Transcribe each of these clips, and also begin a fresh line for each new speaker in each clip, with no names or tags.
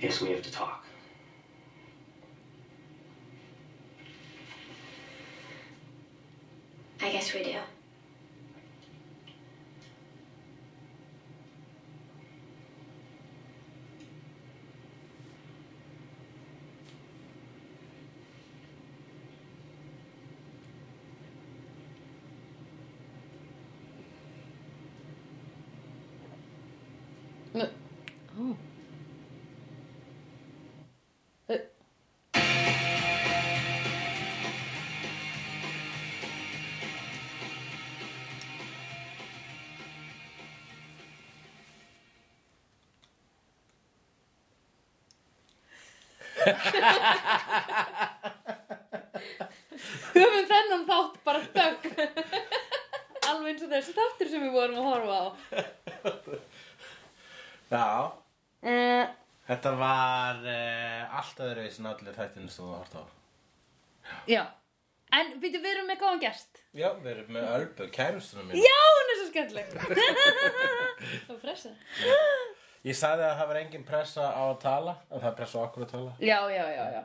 guess we have to talk.
I guess we do.
höfum þennan þátt bara þögg alveg eins og þessi þáttur sem við vorum að horfa á
Já,
uh,
þetta var uh, allt öðruvísi en allir þættinu sem þú hort á.
já en býttu við erum með góðan gest
Já, við erum með Ölbu, kærustunum mín.
já hún er svo skemmtileg það var pressa
Ég sagði að það var engin pressa á að tala, en það er pressa á okkur að tala.
já já já já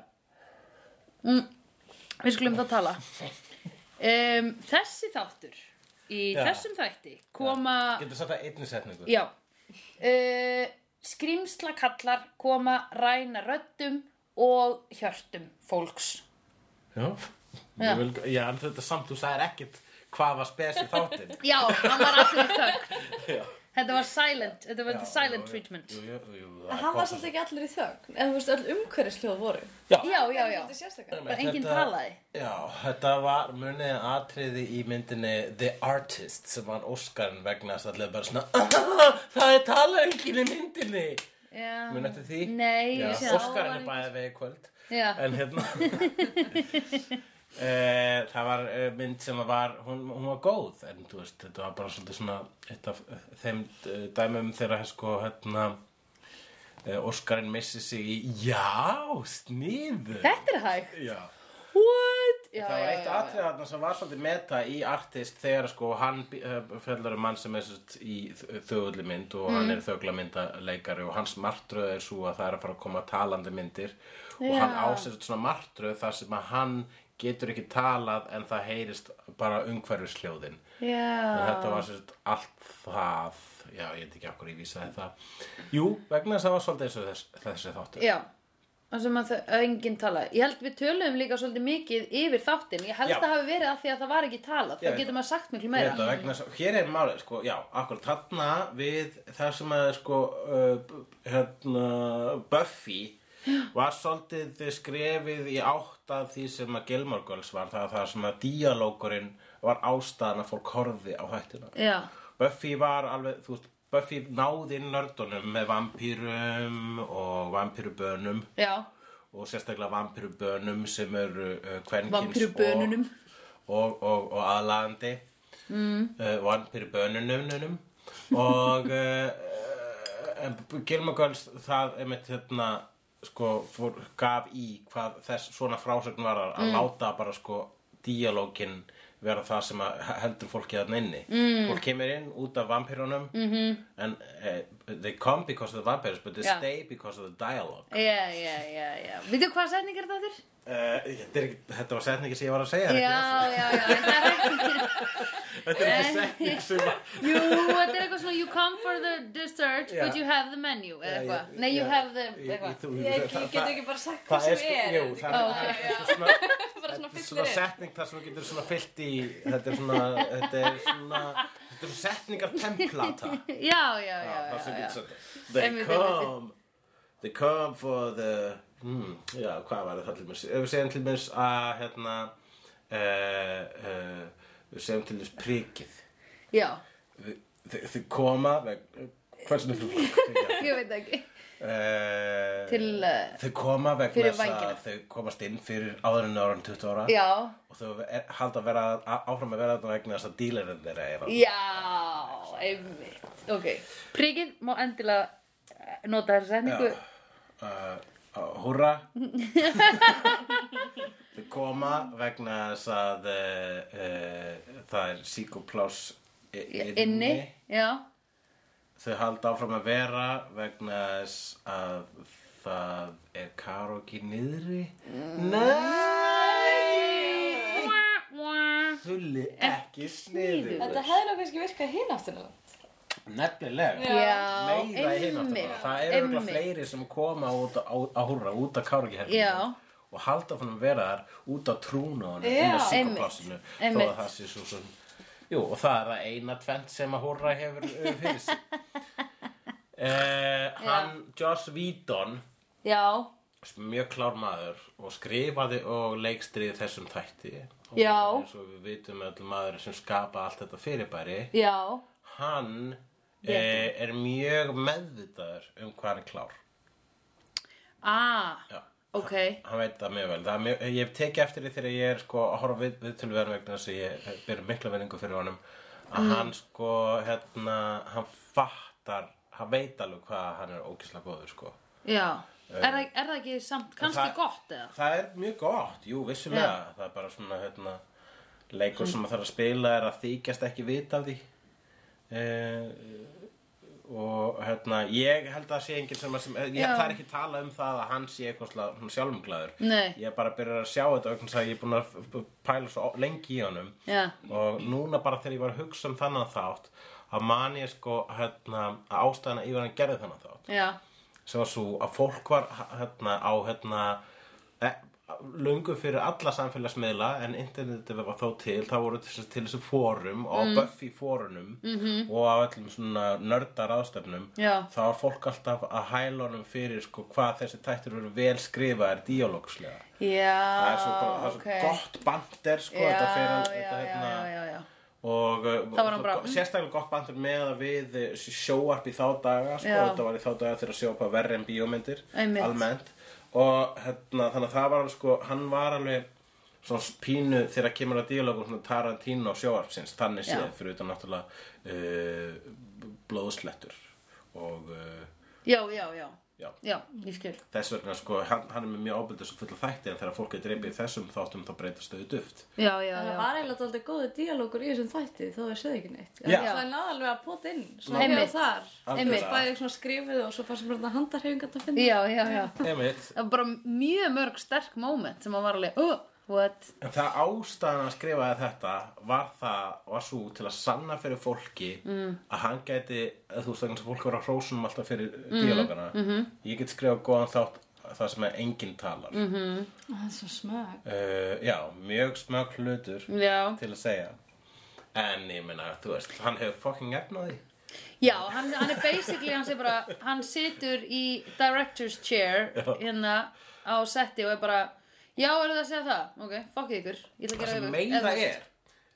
mm, við skulum þá tala um, þessi þáttur í
Já.
þessum þætti koma
Getur sagt það einni setningu?
já uh, skrýmsla kallar koma ræna röddum og hjörtum fólks
Já,
Já.
ég vil, já en þetta samt, þú sagðir ekkit hvað var spes í þáttinn.
Já, hann var allir í þögn
Já.
Þetta var silent, þetta var
Já,
silent
jú, jú,
treatment
Jú, jú, jú, jú,
En hann var svolítið ekki allir í þögn, en þú veist, öll umhverfisljóð voru.
Já, já, já,
Þetta er sérstakar.
bara enginn talaði
Já, þetta var munið atriði í myndinni The Artist sem var Óskarinn vegna þess að allir bara svona Það er tala enginn í myndinni
Já.
Mun eftir því?
Nei, ég sé það
Óskarinn er bæðið vegi kvöld
Já,
En hérna e, Það var eh, mynd sem var hún, hún var góð en þú veist, þetta var bara svolítið svona eitt af eh, þeim eh, dæmum þegar sko, hérna eh, Óskarinn missi sig í Já, sniður
þetta er hægt
Já
What? Já,
það var
já,
eitt
já,
atrið þarna sem var svolítið meta í artist þegar sko hann fellur um mann sem er sérst í þögulli mynd og
Mm.
hann er þöglamyndaleikari og hans martröð er svo að það er að fara að koma talandi myndir og hann
Já.
á sér svona martröð þar sem að hann getur ekki talað en það heyrist bara umhverfisljóðin en
já.
þetta var sérst allt það já ég veit ekki okkur ég vísaði það jú vegna þess að það var svolítið eins og þess, þessi þáttur
já. Það sem að þau- að enginn talaði Ég held við töluðum líka svolítið mikið yfir þáttin Ég held
Já.
það hafi verið að því að það var ekki talað
Ég
Það
veit
getur maður sagt miklu
Ég held
meira
að vegna þess að- Hér er málið, sko, já, akkurat þarna við það sem að, sko, uh, b- hérna, Buffy var svolítið skrefið í átt að því sem að Gilmore Girls var, það, það sem að díalókurinn var ástæðan að fólk horfi á hættina.
Já,
Buffy var alveg, þú veist, Buffy náði inn nördunum með vampýrum og vampýrubönum
já,
og sérstaklega vampýrubönum sem eru uh, kvenkins
vampirubönunum
og, og, og aðlaðandi mm. uh, vann fyrir bönunum og eh, uh, uh, Gilmore Girls það einmitt hérna sko, fór, gaf í hvað þess svona frásögn var að láta bara sko díalógin vera það sem að heldur fólki þarna inni mm. fólk kemur inn út af vampirunum mm -hmm. en uh, they come because of the vampires but they
Já.
stay because of the dialogue
Já, já, já, já Veitu hvað setningar það þurr?
uh, þetta, er, ekki- þetta var setningi sem ég var að segja
Já,
þetta er ekki-
já, já, en það er ekki
þetta er ekki setning sem að
Jú, þetta er eitthvað svona You come for the dessert
Já.
but you have the menu eða
Já,
eitthvað,
já,
nei you
já.
have the
Ég- ég-
eitthvað
þú-
Ég, ég
það-
get
það-
ekki bara sagt
það
hvað
er
sem
sko-
er.
jú,
þetta
það
ok.
er þetta er svona
er bara svona
þetta er
fyllir
svona
er.
setning þar sem þú getur svona fyllt í þetta er svona þetta er svona þetta er setningar templata
Já, já, já,
þar sem
já, já.
getur svona they
Einmitt,
come they come for the hmm, já, hvað var það til mér ef við segjum til mér að hérna uh, uh, við segjum til mér prikið
já,
Þi- þi- þið koma veg- hversu nefnum
ég veit ekki
Eh,
Til, eh,
þau koma vegna
fyrir
þess að
vængina.
þau komast inn fyrir áður en ára 20 ára
Já,
og þau er, halda að vera að- áfram að vera þarna vegna þess að dílarinn þeirra er að-
já, einmitt Ok, prikið má endilega eh, nota þessa setningu
Já. uh, uh, húrra þau koma vegna þess að uh, uh, það er síkuplás inni,
inni Já,
þau halda áfram að vera vegna þess að það er karaoke niðri
Mm.
Nei Þulli ekki sniður
Þetta hefði nú kannski virkað hinn aftur
Nefnilega
Já,
Meira í hináttina Það eru örugglega fleiri sem koma út á, á húrra út á karaoke
Já.
og halda fann að vera þar út á trúnaðunum
Já.
inn á
Einmitt.
síkaplássinu þó að
Einmitt.
það sé svo sem Jú, og það er það eina tvent sem að húrra hefur uh, fyrir sig eh, Hann, Joss Whedon
Já,
sem er mjög klár maður og skrifaði og leikstriði þessum þætti og
Já.
eins og við vitum öll maður sem skapa allt þetta fyrirbæri
já,
hann e, er mjög meðvitaður um hvað hann er klár
ah,
Já.
ok,
hann veit það mjög vel það er mjög, ég hef tekið eftir því þegar ég er sko að horfa við, við til verðum vegna þess að ég byrja mikla verðingu fyrir honum að hann sko hérna hann fattar, hann veit alveg hvað hann er ókislega góður sko
já. Er það, er það ekki samt kannski
það-
gott eða?
Það er mjög gott, jú, vissulega Það er bara svona, hérna leikur sem maður þarf að spila er að þykjast ekki vita af því eh, og hérna ég held að það sé enginn sem, að sem ég,
Já.
það er ekki að tala um það að hann sé eitthvað slá- svona sjálfumglæður
Nei.
ég er bara að byrja að sjá þetta vegna þess að ég er búin að f- f- pæla svo lengi í honum
Já,
og núna bara þegar ég var að hugsa um þannan þátt að man ég sko hérna, að ástæðana yfir hann gerði þannan þátt
já,
sem var svo að fólk var hérna, á hérna, e, lungu fyrir alla samfélagsmiðla en internetið var þó til það voru til, til þessu fórum og mm. Buffy fórunum -hmm. og á öllum svona nördar ástefnum
Mhm. Já.
þá var fólk alltaf að hæla honum fyrir sko, hvað þessi tættur eru vel skrifaðir díalókslega það
já,
er svo, bara, það er svo
Ah, ok.
gott bandir sko,
já,
þetta fyrir hann
já,
þetta, hérna,
já, já, já, já,
og uh,
var hann bara,
og- sérstaklega gott bandur með að við uh, sjóarp í þá daga sko,
Já.
þetta var í þá daga þegar sjóarp var verri en bíómyndir
Einmitt.
almennt og hérna, þannig að það var alveg sko, hann var alveg svona pínu þegar kemur að díalógu svona Tarantino sjóarpsins þannig
Já.
séð fyrir utan náttúrulega uh, blóðslettur og uh,
já, já, já,
já
já, ég skil.
þess vegna sko, hann, hann er með mjög ábyrðis og fulla þætti en þegar fólk er dreipið í þessum þáttum þá breytast þau í duft
Já, já,
En það
já.
var eiginlega alltaf góðu díalógur í þessum þætti þó það séð ekki neitt.
Já.
Það er náðalveg að pota inn, svona hér
Einmitt.
og þar.
Algjörlega.
Bæði svona skrifið og svo fannst mér þetta handarhefingat að finna.
Já, já, já.
Einmitt,
Það var bara mjög mörg sterk moment sem að var alveg, oh, what?
En það ástæðan að skrifaði þetta var það, var svo til að sanna fyrir fólki mm. að hann gæti, eða þú veist þannig að fólk var að hrósunum alltaf fyrir
Mhm,
mm. díalógana -hmm. ég get skrifað góðan þátt það sem er enginn talar
Mhm.
mm -hmm.
Það er svo smög.
Já, mjög smög hlutur
Já,
til að segja en ég meina, þú veist, hann hefur fucking efnaði
já, hann, hann er basically, hann sé bara, hann situr í director's chair hérna á setti og er bara, já, eru það að segja það? Ok, fuck ykkur, ég ætla að
það
gera
sem
yfir.
meira er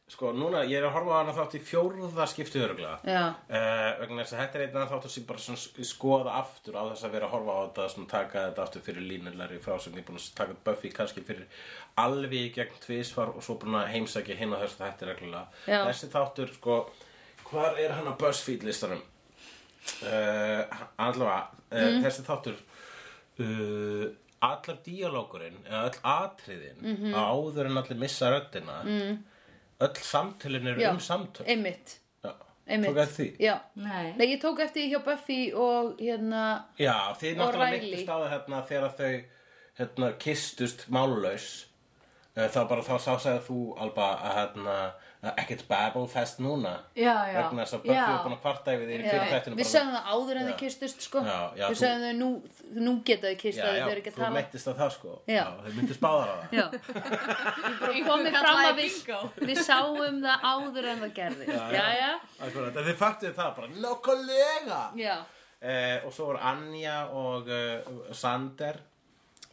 sko, núna, ég er að horfa á hana þátt í fjórða skiptu öruglega
Já.
Eh, vegna þess að þetta er einn af þáttur sem bara svona sk- skoða aftur á þess að vera að horfa á þetta svona taka þetta aftur fyrir línulari frásögn ég er búin að taka Buffy kannski fyrir alveg í gegn tvisvar og svo búin að heimsækja hinn á þess að þetta er reglulega
Já.
þessi þáttur sko hvar er hann á BuzzFeed listanum uh, allavega uh,
Mhm.
þessi þáttur uh, allar díalókurinn eða öll atriðin
Mhm.
áður en allir missa röddina mm. öll samtölin eru
Já. Eh,
um samtöl
Einmitt,
Já.
einmitt.
Tók eftir því?
Já.
Nei.
Nei, ég tók eftir því hjá Buffy og hérna,
Já, þið
Og
náttúrulega
Riley.
myndist á það hérna þegar þau hérna, kistust mállaus eh, þá bara þá sá segja þú Alba að hérna að ekkert babble fest núna
Já, já.
vegna þess að Buffy
Já.
var búin að kvarta yfir því
já,
fyrir þættinu
við sagðum það áður en þið kistust, sko.
Já, já,
við
þú-
sagðum þau, nú, nú geta þau kist
já,
að
já,
þau eru ekki að
þú
tala.
meittist að það sko
Já.
þau myndist báðar á það
Já, ég bara komið fram
kallaði
að við,
bingo.
við sáum það áður en það gerði. Já, já,
Akkurat, en þið faktuðu það bara nokkulega
já,
eh, og svo voru Anja og uh, Sander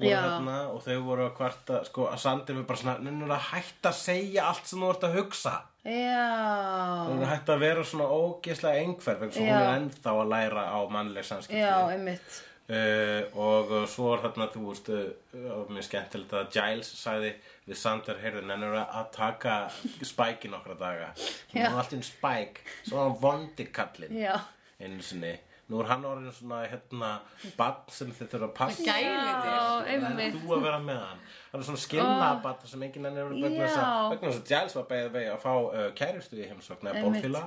voru
Já.
hérna, og þau voru að kvarta sko, að Sander var bara svona, nennur að hætta að segja allt sem þú ert að hugsa
já,
Hún er hægt að vera svona ógeðslega engferð vegna svo hún
Já.
er ennþá að læra á mannleg samskipti
já, einmitt,
Eh, og uh, svo er þarna þú veist uh, uh, mér skemmtilegt að Giles sagði við Sander heyrðin en eru að taka spæki nokkra daga hún
Já.
var alltaf spæk svo var hann vondi kallinn
já,
einu sinni nú er hann orðin svona hérna bann sem þið þurfa að passa
Gæliti.
já,
Það er
einmitt,
þú að vera með hann hann er svona skinnabatt sem enginn enn er vegna þess að
Já.
vegna þess að Giles var beðið vegið að fá uh, kæristu í heimsvagn eða
Einmitt.
bólfíla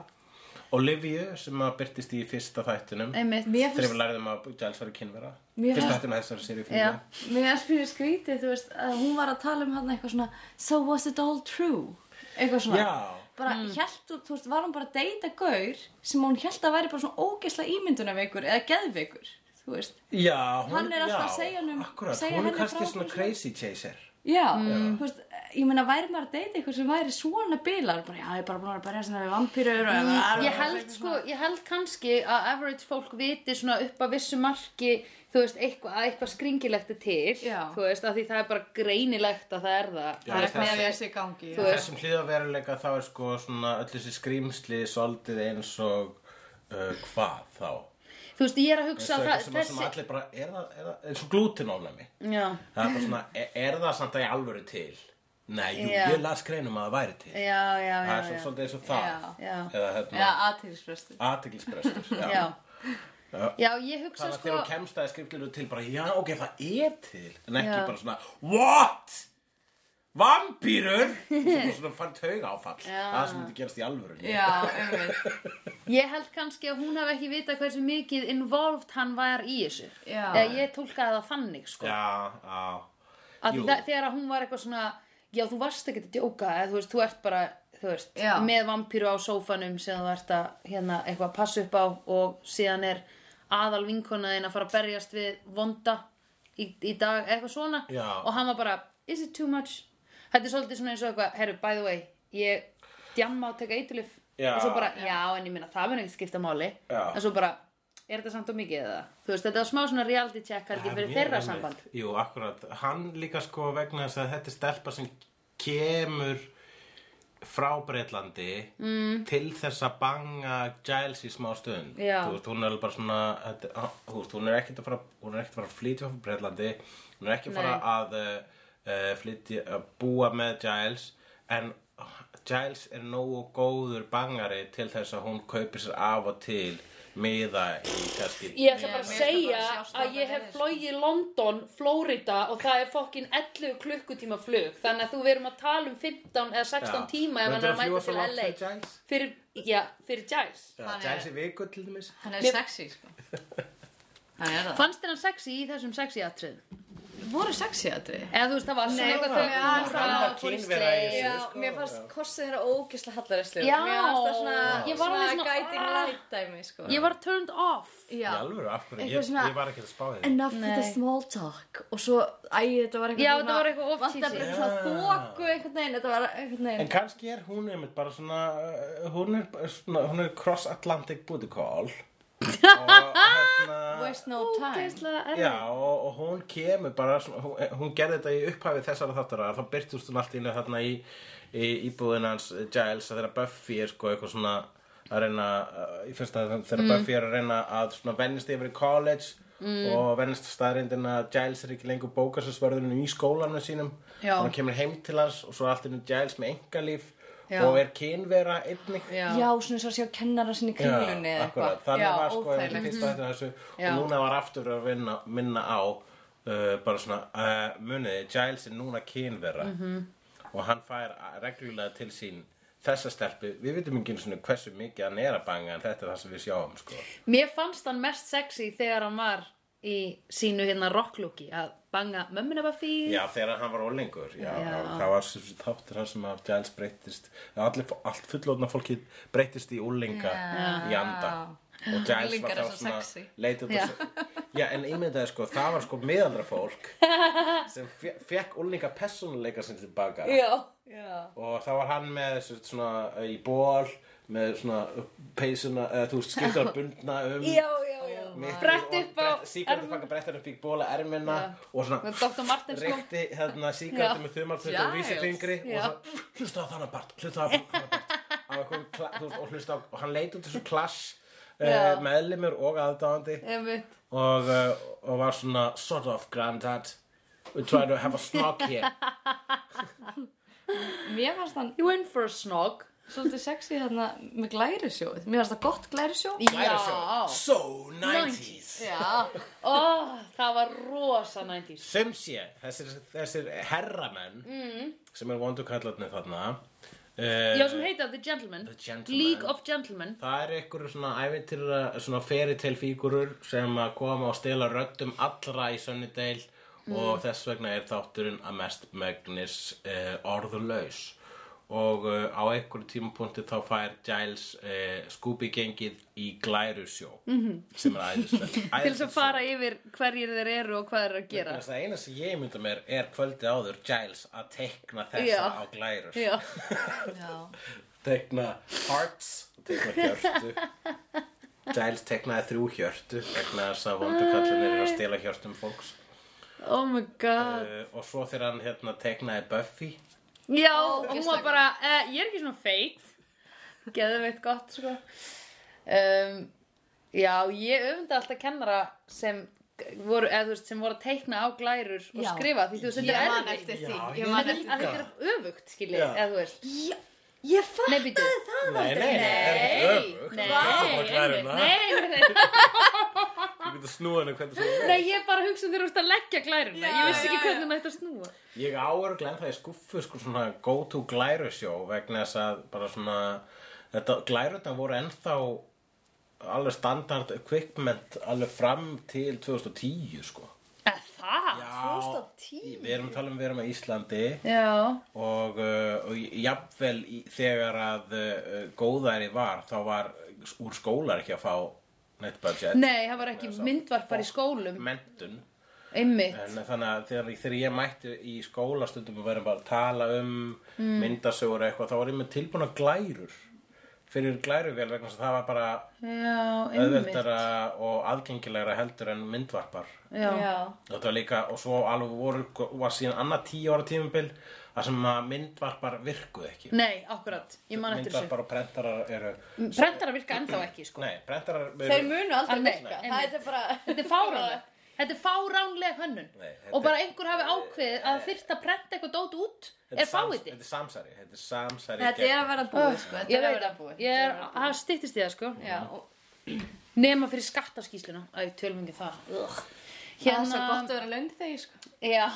Olivia sem að byrtist í fyrsta þættinum
einmitt
Mér
þegar við
finnst,
lærðum að Giles var kynvera
Mér
fyrsta
finnst-
þættinum að þessari séri
Já.
fyrir
mér er spyrir skrítið, þú veist, að hún var að tala um hann eitthvað svona So was it all true? Eitthvað svona
Já,
bara mm. held, þú veist, var hún bara að deyta gaur sem hún held að væri bara svona ógeðsla ímyndunarveikur eða geðveikur, þú veist.
já hún,
Hann er
já,
alltaf að segja honum-
akkurat,
segja
Hún
henni
er
frá
kannski svona
okkur, sko.
crazy chaser
Já, þú veist, ég meina væri maður að deyta eitthvað sem væri svona bilar, bara já, ég er bara búin að berja svona við vampýrur og
Ég held sko, ég held kannski að average fólk viti svona upp að vissu marki þú veist, eitthvað, að eitthvað skringilegt er til
Já.
þú veist, af því það er bara greinilegt að það er það
Já,
Það er
þessi-
ekki að lesa í gangi
Þú
já.
veist.
Þessum hlýðaveruleika þá er sko svona öll þessi skrýmsli soldið eins og uh, hvað þá
þú veist, ég er að hugsa að
það,
það,
sem, þessi... sem
þessi
allir bara, er það, er það eins og glútinónami
já,
það er bara svona, er, er það samt að ég alvöru til? Nei, jú,
Já.
ég las greinum að það væri til
já, já,
það er
já,
svona
já.
svolítið eins og það
Já.
Já.
eða hérna
Já,
ja.
aðtilsprestur.
aðteglisbrestur
Já.
Já.
já, ég hugsa
Það var
sko
þegar þú kemst að skriflunum til bara, já, ok, það er til En ekki
Já.
bara svona, what? Vampýrur? svona fann tauga áfall
Já.
Það sem myndi gerast í alvörunni
Já, einmitt.
Ég held kannski að hún hafi ekki vitað hversu mikið involved hann var í þessu.
Já.
Eða ég tólkaði það þannig, sko.
Já, já,
Að
jú.
það, þegar að hún var eitthvað svona, já, þú varst ekkert að djóka, eða þú veist, þú ert bara, þú veist,
Já.
með vampíru á sófanum sem þú ert að, hérna, eitthvað að passa upp á og síðan er aðal vinkona þín að fara að berjast við vonda í, í dag, eitthvað svona.
Já.
Og hann var bara, is it too much? Þetta er svolítið svona eins og eitthvað, herru, by the way, ég djamma að taka eitulif
Já.
og svo bara, já, en ég minna, það mun ekki skipta máli
Já.
en svo bara, er þetta samt og mikið eða þú veist, þetta er smá svona reality check kannski fyrir
Mjög
þeirra
einmitt.
samband
Jú, akkurat, hann líka sko vegna þess að þetta er stelpa sem kemur frá Breitlandi mm. til þess að banga Giles í smá stund
Já.
þú veist, hún er alveg bara svona þetta, á, þú veist, hún er ekkert að fara hún er ekkert að fara að flytja frá Breitlandi hún er ekki að fara
Nei.
að uh, flytja, að búa með Giles en Giles er nógu góður bangari til þess að hún kaupir sér af og til miða í kannski
Ég ætla bara að
mér finnst
segja
það bara að sjást
að
þarna
ég hef
fyrir.
flogið London, Florida og það er fokkin 11 klukkutíma flug þannig að þú verum að tala um 15 eða 16 tíma ef hann er að mæta til LA
Giles?
fyrir, já, fyrir Giles
Já,
Hann er-
Giles í viku til dæmis
Hann er sexy, sko. Hann er það.
Fannst þér hann sexy í þessum sexy atriðum?
Voru sexy atriði?
Eða þú veist, það var svona eitthvað
bara- Já,
þau-
það
það
var
fór í
kynvera í
sleik.
þessu.
Já,
sko,
mér fannst korsið þeirra ógisla hallaræslu
Já.
Mér fannst það svona,
Ég var
svona,
alveg svona,
guiding
ah.
light dæmi sko.
Ég var turned off
Já,
Í alvöru, af hverju,
Eitthvað
ég,
svona-
ég var ekki að spá því
enough with the
Nei.
small talk Og svo, æ, þetta var eitthvað
Já, þetta var eitthvað of
Vantar
cheesy.
bara eitthvað svona þóku einhvern veginn Þetta var einhvern
En
veginn
kannski er hún einmitt bara svona uh, Hún er, bara svona, hún er cross-atlantic booty call Og hérna
Waste no time
Ógeðslega erfitt.
Já, og, og hún kemur bara svona, hún, eh, hún gerði þetta í upphafi þessara þáttara þá byrtust hún allt í einu þarna í, í íbúðin hans eh, Giles að þeirra Buffy er sko eitthvað svona að reyna eh, í fyrsta þeirra
Mm.
Buffy er að reyna að svona vennist yfir í college
Mm.
og vennist staðrindin að Giles er ekki lengur bókarsvörðurinn í skólanum sínum
Já.
og hann kemur heim til hans og svo er allt í einu Giles með engalíf
Já.
og er kynvera einnig
Já, svona svo að sjá kennara sinni í kringlunni
Já,
eða
akkurat,
eitthvað.
þannig
Já,
var sko einmitt
óþægilegt. Mm-hmm.
fyrsta þetta þessu
Já.
og núna var aftur að vinna, minna á uh, bara svona, uh, muniði Giles er núna kynvera
Mm-hmm.
-hmm. og hann fær reglulega til sín þessa stelpu, við vitum ekki einu sinni hversu mikið hann er að banga en þetta er það sem við sjáum sko.
Mér fannst hann mest sexy þegar hann var í sínu hérna rocklooki að banga mömmina Buffy
Já, þegar hann var ólengur já,
Já.
það var sem sagt þáttur það sem að Giles breyttist allir, allt fullorðna fólkið breyttist í ólenga í anda og Giles
Unglingar
var þá
er svo
svona
sexy.
leitið
Já.
já, en ímyndaði sko, það var sko miðaldra fólk sem fe- fekk ólenga persónuleika sinni tilbaka
Já, já
og þá var hann með sem sagt, svona í ból með svona peysuna, eða þú veist, skiptur að bundna um
Já, já, já
miklu
Brett
og
upp á
brett- sígarettu
ermin.
fanga brettar upp í bóla ermina og svona
Með Dr. Martens sko.
reykti hérna sígarettu
Já.
með þumalpötu og
Giles.
vísifingri
Já.
og svo hlusta á þannig part hlusta á þannig part á einhverjum kla- þú veist, og hlusta á og hann leit út þessu klass
Já.
Uh, meðlimur og aðdáandi
Einmitt.
og, uh, og var svona sort of granddad we try to have a snog here
Mér fannst hann
You in for a snog
svolítið sexy þarna með glærusjóð Mér fannst það gott glærusjóð
Já,
Læra svo. so 90s
Já
Ó, það var rosa 90s Mm.
Sum sé, þessir, þessir herramenn sem er vondu kallarnir þarna Eh,
Já, sem heita The Gentleman,
The Gentleman.
League of Gentlemen
Það er einhverju svona ævintýra, svona feritilfígurur sem að koma og stela röddum allra í Sunnydale
Mm.
og þess vegna er þátturinn að mest megnis eh, orðlaus. Og eh, á einhverju tímapunkti þá fær Giles eh, Scooby-gengið í glærusjó -hmm. sem er æðislega.
Mhm. Til þess að fara yfir hverjir þeir eru og hvað þeir eru að gera
Það eina sem ég mynda mér er kvöldi áður Giles að tekna þessa
Já.
á glærus.
Já,
Já.
Tekna hearts Tekna hjörtu Giles teknaði þrjú hjörtu vegna þess að vondukallin er að stela hjörtum fólks
oh my god
uh, og svo þegar hann hérna teknaði Buffy
Já, hún var bara, uh, ég er ekki svona feit Geðveitt gott, sko um, Já, ég öfndi alltaf kennara sem voru, eða þú veist, sem voru að teikna á glærur og
Já.
skrifa Því þú veist,
Ég
þetta
man
er erfitt
eftir því.
Já,
Ég
ég
man
Þetta
eftir
er- þetta er öfugt, skiljið,
Já.
eða þú veist
Já,
Nei,
ég fattaði
býtu
það
Nei, nei, nei, er þetta öfugt?
Nei,
Þú
nei, nei,
getur
nei, nei
að snúa henni hvernig sem þú
Nei, ég er bara að hugsa um þegar þú ert að leggja glæruna
Já,
Ég vissi ekki
já,
hvernig hann ætti að snúa
Ég áur glenn það í skuffu sko svona go to glærusjó vegna þess að bara svona þetta glærutna voru ennþá alveg standard equipment alveg fram til 2010 sko
Eh, Það?
Já,
2010?
við erum að tala um við erum á Íslandi
Já,
og, uh, og jafnvel í, þegar að uh, góðæri var þá var úr skólar ekki að fá net budget
nei, það var ekki myndvarpar í skólum
mentun
Einmitt
en þannig að þegar, þegar ég mætti í skóla stundum og verðum bara að tala um mm. myndasögur og eitthvað þá var ég með tilbúna glærur fyrir glæruvél vegna þess að það var bara
Já, einmitt
auðveldara og aðgengilegra heldur en myndvarpar
Já,
Þetta var líka, og svo alveg voru, var síðan annað tíu ára tímabil þar sem að myndvarpar virkuð ekki.
nei, akkurat, Mm, ég man eftir þessu Mm.
Myndvarpar og prentarar eru,
Prentarar virka ennþá ekki, sko
nei, prentarar eru,
Þeir munu aldrei
Alveg,
virka.
einmitt.
Það er þetta bara...
Þetta er fáránlegt Þetta er fáránleg hönnun
Nei, þetta
Og bara
er-
einhver hafi ákveðið að þyrft að prenta eitthvað dót út
þetta
Er
sams-
fáiði
Þetta er samsæri, þetta er samsæri.
Þetta er að vera búið, sko. Þetta
Ég
er að
veit
vera
að
búið.
Ég er, það styttist í það, sko
Já, og
Nema fyrir skattaskýsluna Æ, tölum ekki um það Ugh. hérna-
það er svo gott að vera löng þegi, sko.
Já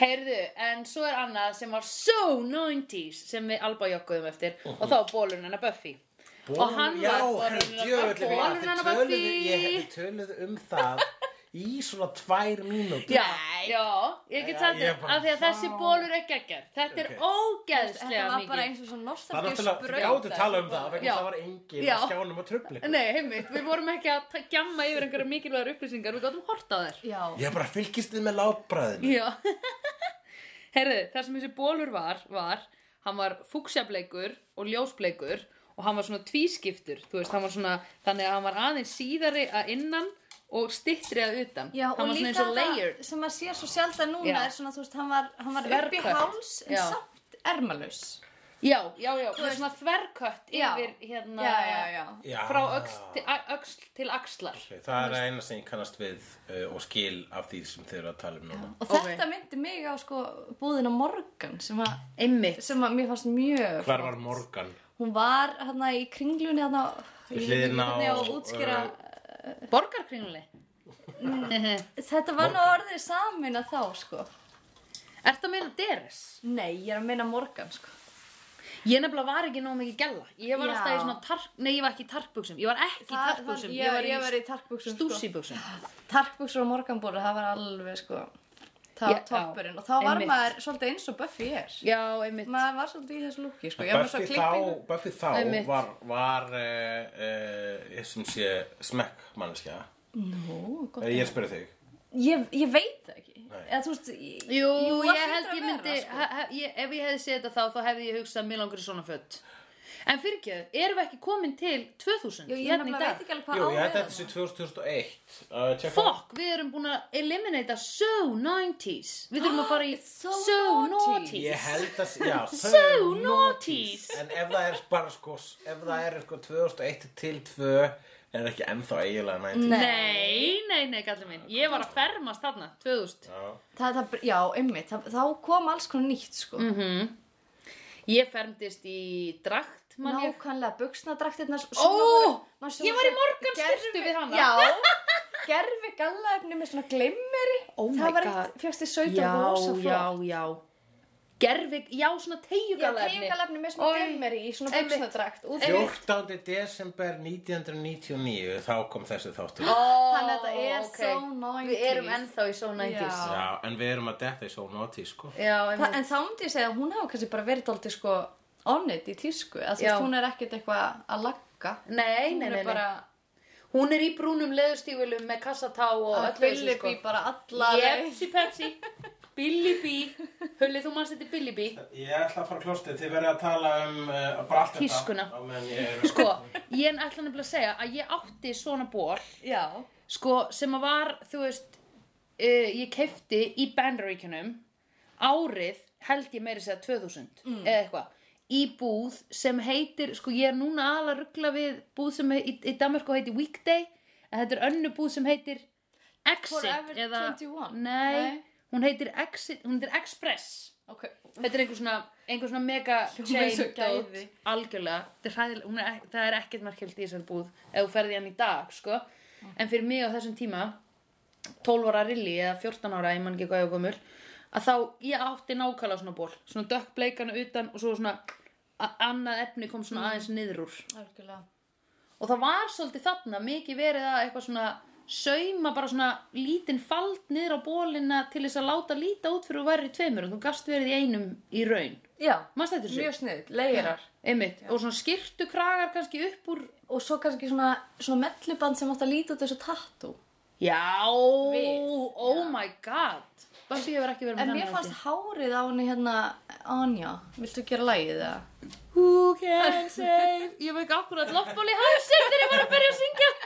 Heyrðu, en svo er annað sem var so 90s sem við alba jogguðum eftir
Mhm.
og þá var bólurinn hennar Buffy
Bólun,
og hann
já,
var
herru,
hennar
djöfull,
Buffy
ég man,
bólurinn
þið
hennar
töluðu- Ég
Buffy
hefði töluð um það í svona tvær mínútur.
Já, já, ég get
Já,
sagt
ég
þetta
bara,
af því að þessi
vá.
bólur er geggjær Þetta er
Ok.
ógeðslega
Þetta var bara
mikið
eins og svona
Það er
nostalgíu
náttúrulega, þið áttu að tala um
sko.
það, vegna
Já.
það var engin
Já.
að skjánum að tröfli.
Nei, heimitt, við vorum ekki að ta- gjamma yfir einhverja mikilvægar upplýsingar, við gáttum horta á þær
Já.
Ég bara fylgist þið með lábræðinu.
Já Herðu, það sem þessi bólur var, var hann var fúksjableikur og ljósbleikur og hann var svona tvískiptur þú veist, hann var svona, þannig að hann var aðeins síðari að innan og stittri að utan
Já,
hann
og
var svona eins
líka
og layered
það sem maður sér svo sjaldan núna
Já.
er svona, þú veist, hann var, hann var upp í
Þverkökk.
háls en
Já.
samt ermalus.
Já, já, já, það er
veist-
svona þverkött
Já.
yfir hérna
Já, já, já.
Já.
frá öxl til, a- öxl til axlar
Það er eina sem ég kannast við uh, og skil af því sem þið eru að tala um núna.
Og
Ok.
þetta myndi mig á, sko, búðin á morgan sem að,
Einmitt
sem að mér fannst mjög...
Hvar var Morgan?
Hún var hérna í kringlunni hérna
Við hliðina á, uh,
hérna og útskýra
Borgarkringle
Þetta var nú orðið samin að þá sko
Ertu að meina deres?
Nei, ég er að meina morgan sko
Ég nefnilega var ekki nóg mikið gæla Ég var
Já.
alltaf í svona tarp... Nei, ég var ekki í tarpbuxum Ég var ekki í
Það-
tarpbuxum
það-
Ég var í,
var í tarkbuksum sko.
stúsibuxum
Tarkbuksur og morganbólu, það var alveg sko Það
Já,
var toppurinn og þá var
einmitt.
maður svolítið eins og Buffy er
Já, einmitt
Maður var svolítið í þessu lúki sko Ég var með
Buffy
svo
þá,
klippingu
Buffy þá
Einmitt.
var, var uh, uh, ég sem sé smekk manneskja.
Nú, gott
Eh, Ég spyrir þig.
Ég, ég veit það ekki
Nei.
Eða þú veist ég-
Jú,
það
ég
hlýtur
held
að
ég
vera,
myndi,
sko.
ha, ha, ég, ef ég hefði séð þetta þá, þá hefði ég hugsað mér langur í svona fött. En fyrir ekki, erum við ekki komin til 2000?
Jú, sko. ég
hérna í
nefnilega
dag?
veit ekki alveg
Jú,
hvað
ég held
árið
þetta
það
sé
var.
2001. Uh, tjekka.
um Fuck, við erum búin að eliminata so 90s. Við þurfum að fara í
So
so,
90s.
90s.
Ég held að, já, so,
naughties.
En ef það er bara sko, ef það er sko 2001 til 2 er það ekki ennþá eiginlega 90.
Nei, nei, nei, gallið minn. Ég var að fermast þarna, 2000.
Já.
Það, það, já, einmitt, það, þá kom alls konar nýtt sko
Ég fermdist í drakt, mann ég.
Nákvæmlega, buksnadraktirnar
Ó, ég var í morganstyrtu við hana.
Já, gerfi gallaefni með svona glimmeri
Oh my
Það var
God.
eitt, fjöxti 17 rosa flott
já. gerfig, já, svona
Já,
teyjugalefni
teyjugalefni með smá
Oj.
gömmeri í svona
Einmitt.
buksadrakt út-
14. desember 1999 þá kom þessi þáttur
Ah.
Þannig að þetta er
ok.
so 90s.
Við erum ennþá í so 90s
Já.
Já, en við erum að detta í svo nóti sko
Já,
Þa,
einmitt.
en þá myndi ég segja að hún hafa kannski bara verið aldrei sko on it í tísku að þú
Já.
veist hún er ekkert eitthvað að lagga
Nei, nei,
hún
nei,
er
nei.
bara
Hún er í brúnum leðustígulum með kassatá og
að sko.
öllu sko.
billi bí bara alla leið.
Jepsi pepsi, Billy B Hulli, þú manst þetta Billy B
Ég ætla að fara klostið, þið verður að tala um uh, bara allt þetta
Tískuna.
Á meðan ég er-
Sko, ég er alltaf nefnilega að segja að ég átti svona ból
Já,
Sko, sem að var, þú veist uh, Ég kefti í bandaríkjunum Árið held ég meiri segja 2000
Mm.
Eða eitthvað Í búð sem heitir, sko ég er núna aðal að ruggla við búð sem heit, í, í Danmarku heitir Weekday En þetta er önnu búð sem heitir Exit
Forever
eða,
21?
Nei,
Nei.
hún heitir Exit, hún heitir Express
ok
Þetta er einhver svona, einhver svona mega
Hljómar eins
chain
og
dot,
gæði.
algjörlega Þetta er hræðilega- hún er ek- það er ekkert markilt í þessari búð ef þú ferði hann í dag sko. en fyrir mig á þessum tíma 12 ára rilli eða 14 ára ég man ekki hvað ég var gömul að þá ég átti nákvæmlega svona ból svona dökkbleikana utan og svo svona a- annað efni kom svona aðeins niður úr
Algjörlega
og það var svolítið þarna mikið verið að eitthvað svona sauma bara svona lítinn fald niður á bólina til þess að láta líta út fyrir að vera í tveimur og þú gast verið í einum í raun
Já,
Manstu eftir þessu?
mjög snið, leirar
Einmitt, og svona skirtu kragar kannski upp úr
og svo kannski svona, svona melluband sem átt að líta út þessu tattoo
Já,
Við,
oh my god Bambi hefur ekki verið
En
með
mér
þennan
fannst
þáttinn.
hárið á henni hérna Anja, viltu gera lagið eða?
Who can save Ég veit ekki okkur að loftból í hálsinn þegar ég var að byrja að syngja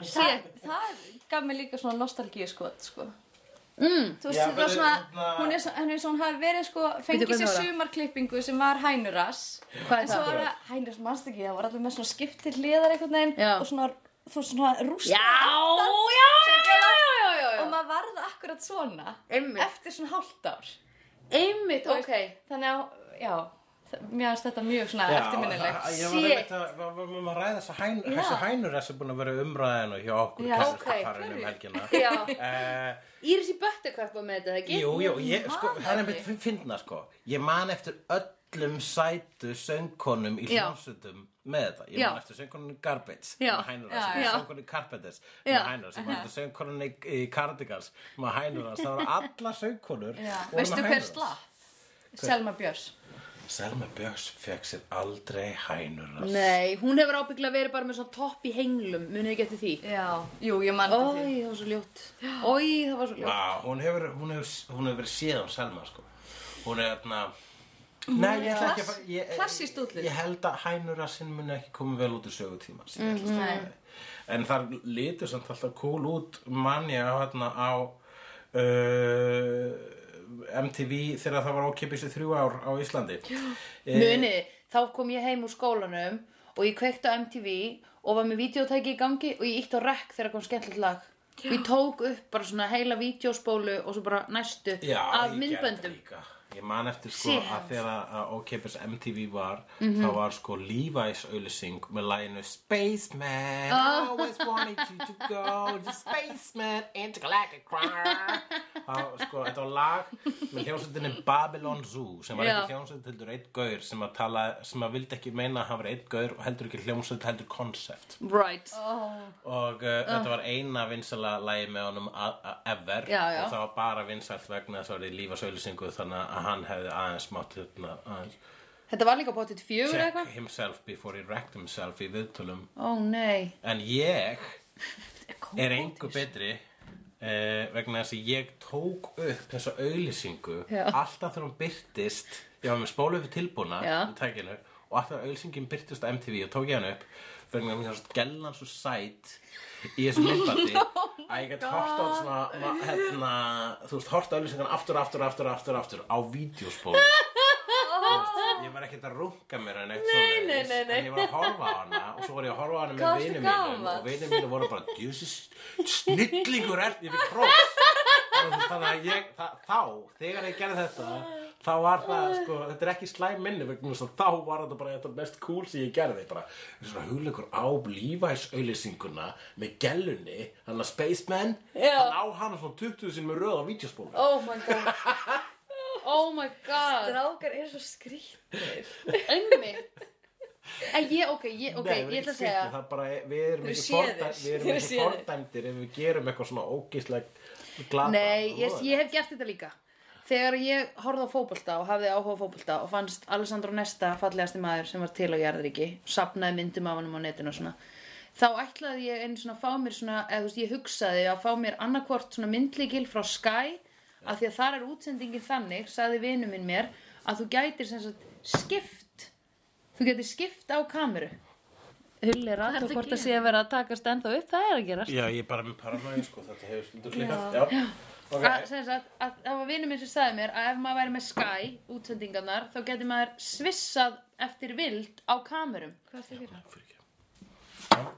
Það, það gaf mér líka svona nostalgíu sko,
mm.
Þú veist,
Já,
þetta var
verður-
svona,
hérna-
hún er, svo- hún er svona, hún hafi verið sko, fengið
hvernig
sér
var það?
sumarklippingu sem var hænurass.
Hvað er
En svo
það?
var það, hænurass mannst ekki, það var allir með svona skipt til hliðar einhvern veginn
Já.
og svona, þú veist, svona
Já,
rústa.
já, já, já, já, já,
Og
já.
maður varði akkurat svona
Einmitt.
eftir svona hálft ár.
Einmitt,
Þú veist,
ok
Þannig að, já, það- mér finnst þetta mjög svona eftirminnilegt.
Já, það- ég var
Shit.
einmitt að, var- varum að ræða þessa hæn, þessi hænur þessi búin að vera umræðin og hjá okkur
Já,
kærustu
ok.
parinu um helgina
Já.
Eh,
Íris í Buttercup var með þetta, ekki?
Jú, jú, ég,
man
sko, það er
ekki.
einmitt fyndna sko Ég man eftir öllum sætu söngkonum í
Já.
hljómsutum með þetta Ég
Já.
man eftir söngkonunni Garbage
Já.
með hænur
Já,
hans,
já.
söngkonunni Carpenters
Já.
með hænur hans, ég man eftir söngkonunni í Cardigans með hænur hans, það voru alla söngkonur
Já.
voru með
Veistu
hænur
hver
hans.
slapp? Selma Björs.
Selma Björns fekk sér aldrei hænur hans
Nei, hún hefur ábyggla verið bara með svona topp í henglum Munið ekki eftir því
Já, jú, ég mann þetta því.
Ói, það var svo ljótt Ói, það var svo ljótt
Vá, hún hefur, hún hefur, hún hefur verið séð um Selma, sko. Hún er þarna... Nei, ég ætla ekki að fara... ég-
klassískt útlit.
Ég held að hænurassinn muni ekki komið vel út úr sögutímans. Mm -hmm. En þar litur samt alltaf cool út manni á, þarna, á uh, MTV þegar það var ókipis í þrjú ár á Íslandi. Eh,
Munið, þá kom ég heim úr skólanum og ég kveikti á MTV og var með videótæki í gangi og ég ítti á rekk þegar kom skemmtilegt lag. Já. Ég tók upp bara svona heila videóspólu og svo bara næstu
Já,
af
ég gerði
myndböndum.
þetta líka. Ég man eftir sko
Shit. Mhm.
að þegar að- að ókeypis MTV var þá var sko Levi's auðlýsing með læginu Spaceman
Ah.
always wanted you to go to Spaceman intergalactic car Þá, sko, þetta var lag með hljómsveitinni Babylon Zoo sem var
Já.
ekki hljómsveit heldur einn gaur sem að, tala, sem að vildi ekki meina að hann var einn gaur og heldur ekki hljómsveit heldur konsept
Right.
og
Ah.
uh, þetta var eina vinsala lægi með honum a- a- ever
Já, já.
og það var bara vinsalt vegna þess að það var í lífasauðlýsingu þannig að hann hefði aðeins mátt hérna, aðeins
Þetta var líka bóttið fjögur eða
check
eitthvað.
himself before he wrecked himself í viðtölum
Ó nei.
en ég er engu betri uh, vegna þess að ég tók upp þessa auðlýsingu
Já.
alltaf þegar hún byrtist ég var með spólu yfir tilbúna
Já.
í tækinu og alltaf þegar auðlýsingin byrtist á MTV og tók ég hann upp vegna mér þess að gellan svo sæt í þessu myndbandi
Oh
að ég gæti hort á þetta svona ma- hérna, þú veist, hort á auðlýsingan aftur, aftur, aftur, aftur, aftur á vídeospólu ég var ekkert að runga mér en eitt nei,
nei, nei, nei.
en ég var að horfa á hana og svo var ég að horfa á hana með
Hvað
vinum
varstu
mínum
gamall?
og vinum mínum voru bara djúsis snillingur er ég fyrir kross Og þú veist, þannig að ég, það, þá, þegar ég gerði þetta þá var það, sko, þetta er ekki slæm minni vegna þess að þá var þetta bara þetta mest cool sem ég gerði bara svona hugleikur á Levi's auðlýsinguna með gellunni, hann að Spaceman
Já.
hann á hann svona 20 sinni með röð á vídeospólu
Oh my god. Ó oh my god
Drákar er svo skrýttir.
einmitt en ég, ok, ég, ok,
Nei, við
ég ætla að
erum ekki
segja
skrýtnir, það bara er- við erum
Við
ekki,
séð
fordæm,
þér.
við erum
Við
ekki
séð þér.
fordæmdir ef við gerum eitthvað svona ógíslegt glata
Nei, ég, ég hef gert þetta líka Þegar ég horfði á fótbolta og hafði áhuga á fótbolta og fannst Alessandro Nesta fallegasti maður sem var til á jarðríki sapnaði myndum af honum á netinu og svona þá ætlaði ég einu svona að fá mér svona eða þú veist, ég hugsaði að fá mér annarkvort svona myndlíkil frá Sky af því að þar er útsendingin þannig sagði vinu minn mér að þú gætir sem sagt skipt þú gætir skipt á kameru Hulli er
ertu
aðtöð
að
hvort
gera?
að sé að vera að takast ennþá upp það er að gerast
Já, ég er bara með paranoia sko, þetta hefur stundu klikað Já, ok
að, sem sagt, að það var vinnum minn sem sagði mér að ef maður væri með Sky útsendingarnar þá geti maður svissað eftir vild á kamerum
Hvað er það að gera?
Fyrirgefðu.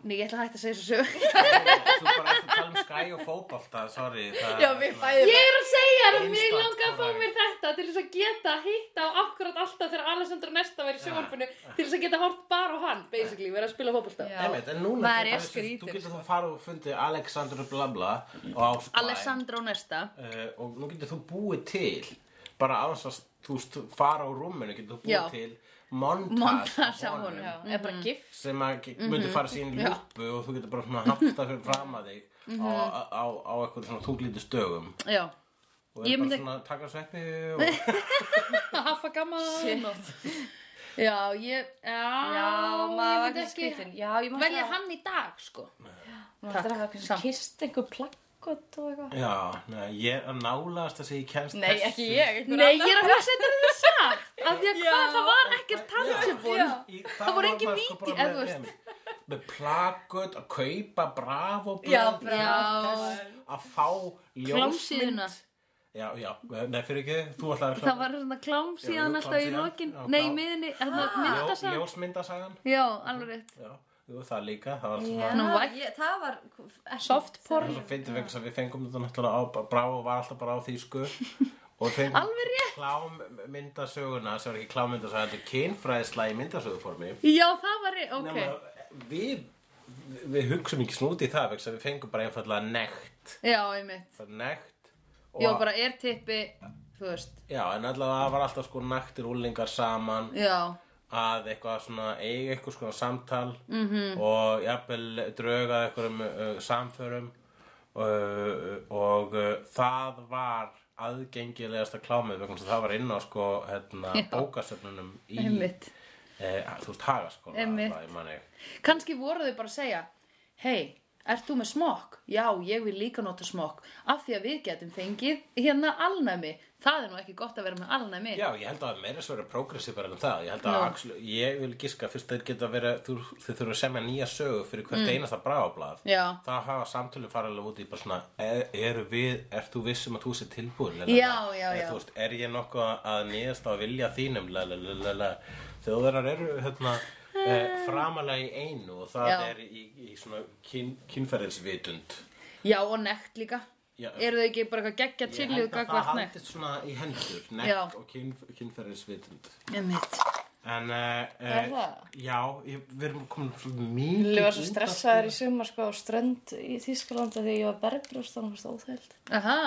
Nei, ég ætla að hætta að segja þessu sög
Þú bara eftir að tala um skæ og fótbolta, sorry það,
Já, við bæðum.
Ég er að segja það, mig
Instant
langar að fá
brag.
mér þetta til þess að geta hitta á akkurat alltaf þegar Alessandro Nesta væri í sjónvarpinu til þess að geta hort bara á hann, basically, vera að spila fótbolta
Já.
Einmitt, en núna
Maður
getur
er
bara-
skrýtin,
Þú
sko.
getur þá farið og fundið Alexander Blabla og á Sky
Alessandro Nesta
uh, og nú getur þú búið til bara á þess að þú veist, fara á rúminu getur þú búið
Já.
til montas,
Montas af honum.
Já, eða bara gift.
sem að mm
Mhm.
-hmm. myndi fara sín lúpu og þú getur bara svona hafta fyrir fram að þig á,
Mhm.
á, á, á eitthvað svona þunglítið stögum
Já,
og er
Ég myndi-
bara svona að taka sveppi og
hafa gaman Já, ég, já,
Já,
ég
maður var
myndi
ekki skrýtin. Já, ég maður
velja hann í dag, sko
Maður ætlar að hafa
Samt.
kannski kist einhver plakkot og eitthvað.
já, neða, ég er nálaðast að segja ég kemst
Nei,
þessu.
ekki ég. einhver
Nei,
annar.
ég er að hugsa þetta er satt Af því að hvað,
Já.
það var ekkert tangible
Já.
Í-
Það voru
var
engin
maður sko
víti-
bara
eða þú
með, með, með plakut að kaupa bravo
Já,
blöð, að fá ljósmynd
Klámsíðuna
já, já, nei fyrir ekki þú ætlaði að
Það var svona klámsíðan
Já,
alltaf í
klámsíðan.
lokin
Já, Ah.
Nei, í
klám.
miðinni, þarna myndasagan
Ljó, ljósmyndasagan
Já, alveg rétt
já, jú, það líka það var svona
Nú,
Já,
væ-
ég- það var ekki-
Softporn.
það finnum við að við fengum þetta náttúrulega á bravo var alltaf bara á þýsku og við fengum
Alveg rétt.
klámyndasöguna sem var ekki klámyndasaga þetta er kynfræðisla í myndasöguformi
Já, það var rétt, ok
Nefna, við, við hugsum ekki snúti í það vegna þess að við fengum bara einfallega nekt
Já, einmitt
það er nekt og,
Já, bara er tippi, þú veist
já, en allavega það var alltaf sko nektir úlingar saman
Já,
að eitthvað svona eiga eitthvað svona samtal
Mhm.
-hmm. og jafnvel drauga eitthvað uh, samförum uh, og uh, það var aðgengilegasta klámið vegna þess að það var inn á sko hérna,
Já.
bókasöfnunum í
einmitt
eh, þú veist hagaskóla
Einmitt.
það, ég man ekki.
Kanski voru þau bara að segja Hei, ert þú með smokk? Já, ég vil líka nota smokk Af því að við getum fengið hérna alnæmi Það er nú ekki gott að vera með alnæmi
Já, ég held að það meira svo verið progressívar en það. Ég held að
Já.
Axl, ég vil giska fyrst þeir geta verið, þú, þeir þurfa að semja nýja sögu fyrir hvert einasta brafablað.
Mm. Já.
Það hafa samtölu faralega út í bara svona, er, eru við, ert þú viss um að þú sé tilbúin? Lalala?
Já, já,
Eh,
já.
Þú veist, er ég nokkuð að nýjast á vilja þínum? Lalala. Þjóðarar eru, hérna, eh, framalega í einu og það
Já.
er í, í svona kyn, kynferðisvitund.
Já, og nekt líka.
Já.
Eru þau ekki bara eitthvað geggja
Ég
chillið
held að það
gagvart nekt?
haldist svona í hendur,
Já.
nekt og kyn, kynferðisvitund.
Emmitt.
En, uh,
Er það?
Já, ég, við erum komin svolítið mikið
Ég var
út
svo
af-
stressaður í sumar sko á strönd í Þýskalanda þegar ég var bergbrjóst og hann var stóð óþægild.
Aha.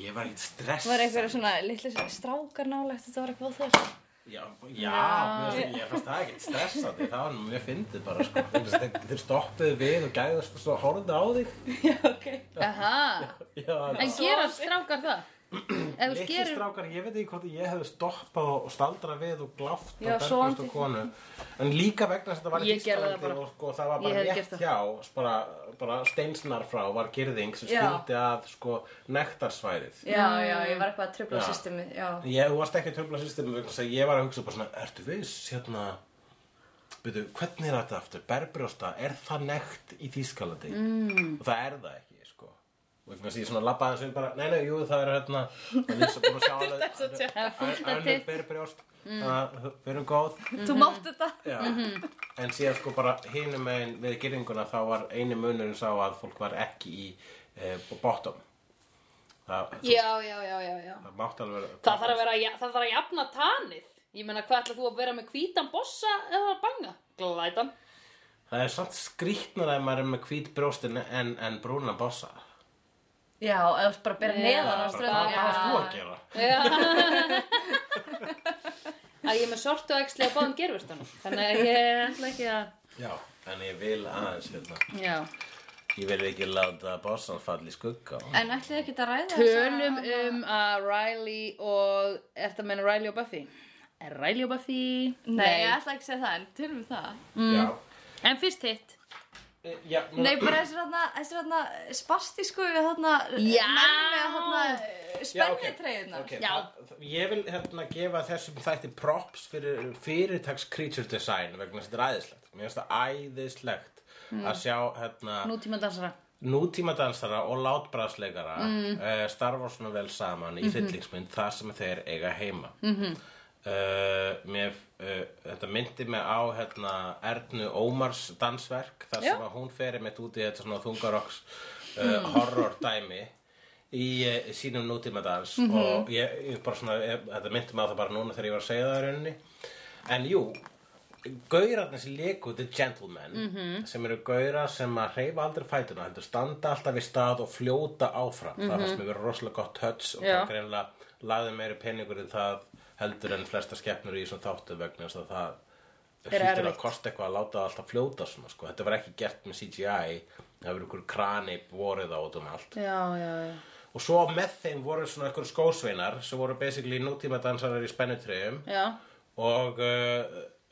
Ég var ekkert stress
Það var einhverja svona litli strákar nálægt, þetta var eitthvað óþægild.
Já, já mér, ég fannst það ekkert stressandi Það var nú mjög fyndið bara sko Þú veist, Þeir, þeir stoppuðu við og gæðast og svo horfðu á þig
Já, ok.
Aha.
Já,
En gera strákar það? Ef þú
Litli
gerir...
strákar, ég veit ekki hvort ég hefði stoppað og staldra við og gláft
Já,
á bergbrjóst
sofandi.
og konu En líka vegna þess að þetta var í
Ég gerði það
Þýskalandi
bara.
og sko, það var
Ég hefði
bara
gert
rétt
það.
hjá bara, bara steinsnar frá var girðing sem
Já.
skildi að sko, nektarsvæðið
Já, já, ég var eitthvað að tröfla
Já.
systemið, já.
Ég, þú varst ekki að töfla systemi vegna þess að ég var að hugsa bara svona, ertu viss, hérna, byrju, hvernig er þetta aftur, berbrjósta, er það nekt í Þýskalandi? Mm. Og það er það ekki, sko. Og vegna þess að ég svona labbaði þessu bara, nei, nei, jú, það er hérna, það er þess að búin að sjá
Það er Mm.
alveg,
fullt af
önnur
titt.
berbrjóst, þannig að við erum góð.
Þú mátt þetta.
Já,
Mhm.
en síðan sko bara hinum megin við gerðinguna þá var einu munurinn sá að fólk var ekki í eh, bottom. Það,
Já, já, já, já, já.
það mátti alveg vera.
Það þarf að vera, ja- það þarf að jafna tanið. Ég meina, hvað ætla þú að vera með hvítan bossa eða banga? Glætan.
Það er samt skrýtnar að maður er með hvít brjóstin en, en brúna bossa.
Já, eða þú ert bara að bera
Já,
neðan á
bara-
ströndinni.
Hvað varst þú að gera?
Já. að ég er með sortu æxli á báðum gerfurstanum þannig að ég ætla ekki að
Já, en ég vil aðeins hérna.
já.
Ég vil ekki láta bossan falla í skugga.
En ætlið þið ekki að ræða
tölum um að Riley og eftir að menna Riley og Buffy er Riley og Buffy
Nei, ég ætla ekki að segja það, en tölum um það.
Já.
en fyrst hitt
E, Já, nú-
Nei, bara þessir hérna, þessir hérna spastísku við hérna,
Já.
menn með hérna
Já, ok.
spennitreyðunar.
Ok,
Já.
það- það- Ég vil hérna gefa þessum þætti props fyrir fyrirtags creature design vegna þess að þetta er æðislegt. Mér finnst það æðislegt að sjá hérna
nútíma dansara
nútíma dansara og látbrasleikara mm. starfa svona vel saman í hryllingsmynd þar sem þeir eiga heima mm -hmm. mér, uh, þetta myndi mig á hérna, Ernu Ómars dansverk þar sem
Já.
að hún feri mitt út í þetta svona þungarokks uh, horror dæmi í uh, sínum nútíma dans og ég, ég bara svona ég, þetta myndi mig á það bara núna þegar ég var að segja það í rauninni en jú gaurarnir sem leku The Gentleman
Mhm.
sem eru gaurar sem að hreyfa aldrei fætuna heldur standa alltaf í stað og fljóta áfram það fannst mér verið rosalega gott touch og
Mhm. Já.
það greinlega laði meiri peningur en það heldur en flesta skepnur í þessum þáttu vegna þess að það
Er
hlýtur að
erfitt.
kosta eitthvað að láta það alltaf fljóta svona sko. þetta var ekki gert með CGI það var ykkur krani borið á út um allt
já, já, já
og svo með þeim voru svona ykkur skósveinar sem voru basically nútíma dansarar í spennutreyjum
já,
og uh,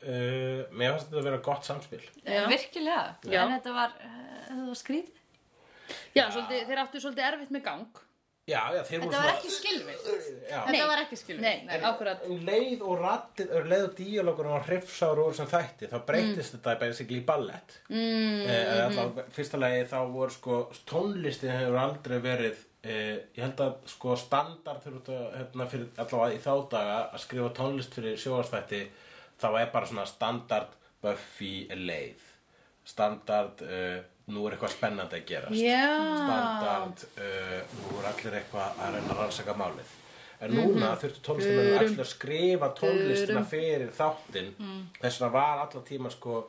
uh, mér fannst þetta að vera gott samspil
Já. Eh, Virkilega.
Já.
En þetta var, uh, þetta var skrítið.
já svolítið, þeir áttu svolítið erfitt með gang
já, já, þeir voru
Þetta var
svona
ekki skilvilt.
já.
Þetta var ekki skilvilt.
nei, nei. akkurat
um leið og ratið, um leið og díalókunum var hrifsáru úr sem þætti þá breytist
Mm.
þetta basically í ballett mm, eh, allá, fyrsta lagi þá voru sko tónlistin hefur aldrei verið eh, ég held að sko standard fyrir, þetta, hérna, fyrir allavega í þá daga að skrifa tónlist fyrir sjóastætti þá er bara svona standard Buffy leið standard uh, nú er eitthvað spennandi að gerast
já,
standard uh, nú er allir eitthvað að reyna að rannsaka málið en núna þurftu tónlistamenn actually að skrifa tónlistina fyrir þáttinn þess vegna var alla tíma sko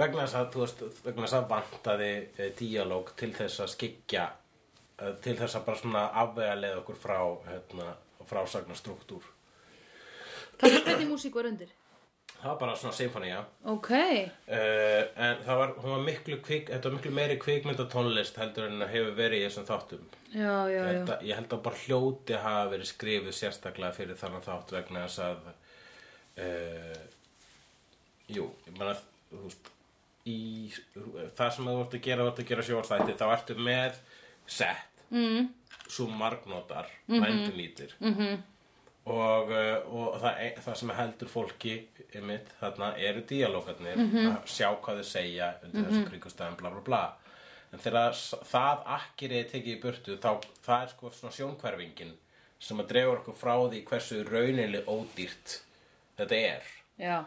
vegna þess að, þú veist, vegna þess að vantaði e, díalóg til þess að skikja eh, til þess að bara svona afvega leið okkur frá hérna, frásagna struktúr
það er hvernig músík var undir
það var bara svona symfónía
ok,
Uh, en það var, hún var miklu, kvik, þetta var miklu meiri kvikmyndatónlist heldur en hefur verið í þessum þáttum
já, já,
Ég
já
held, að, ég held að bara hljóti hafa verið skrifuð sérstaklega fyrir þannig þátt vegna þess að uh, Jú, ég meina þú veist í, það sem þú vart að gera, þú vart að gera sjóvarstætti þá ertu með sett mm. svo margnótar mm
Mhm.
-hmm. endurnýtir mm -hmm. og, eh, og það, e- það sem heldur fólki mitt, þarna eru díalógarnir að sjá hvað þau segja undir þessu kringustæðum bla bla bla en þegar s- það akkir er tekið í burtu þá það er sko svona sjónkverfingin sem að drefa okkur frá því hversu raunileg ódýrt þetta er
já,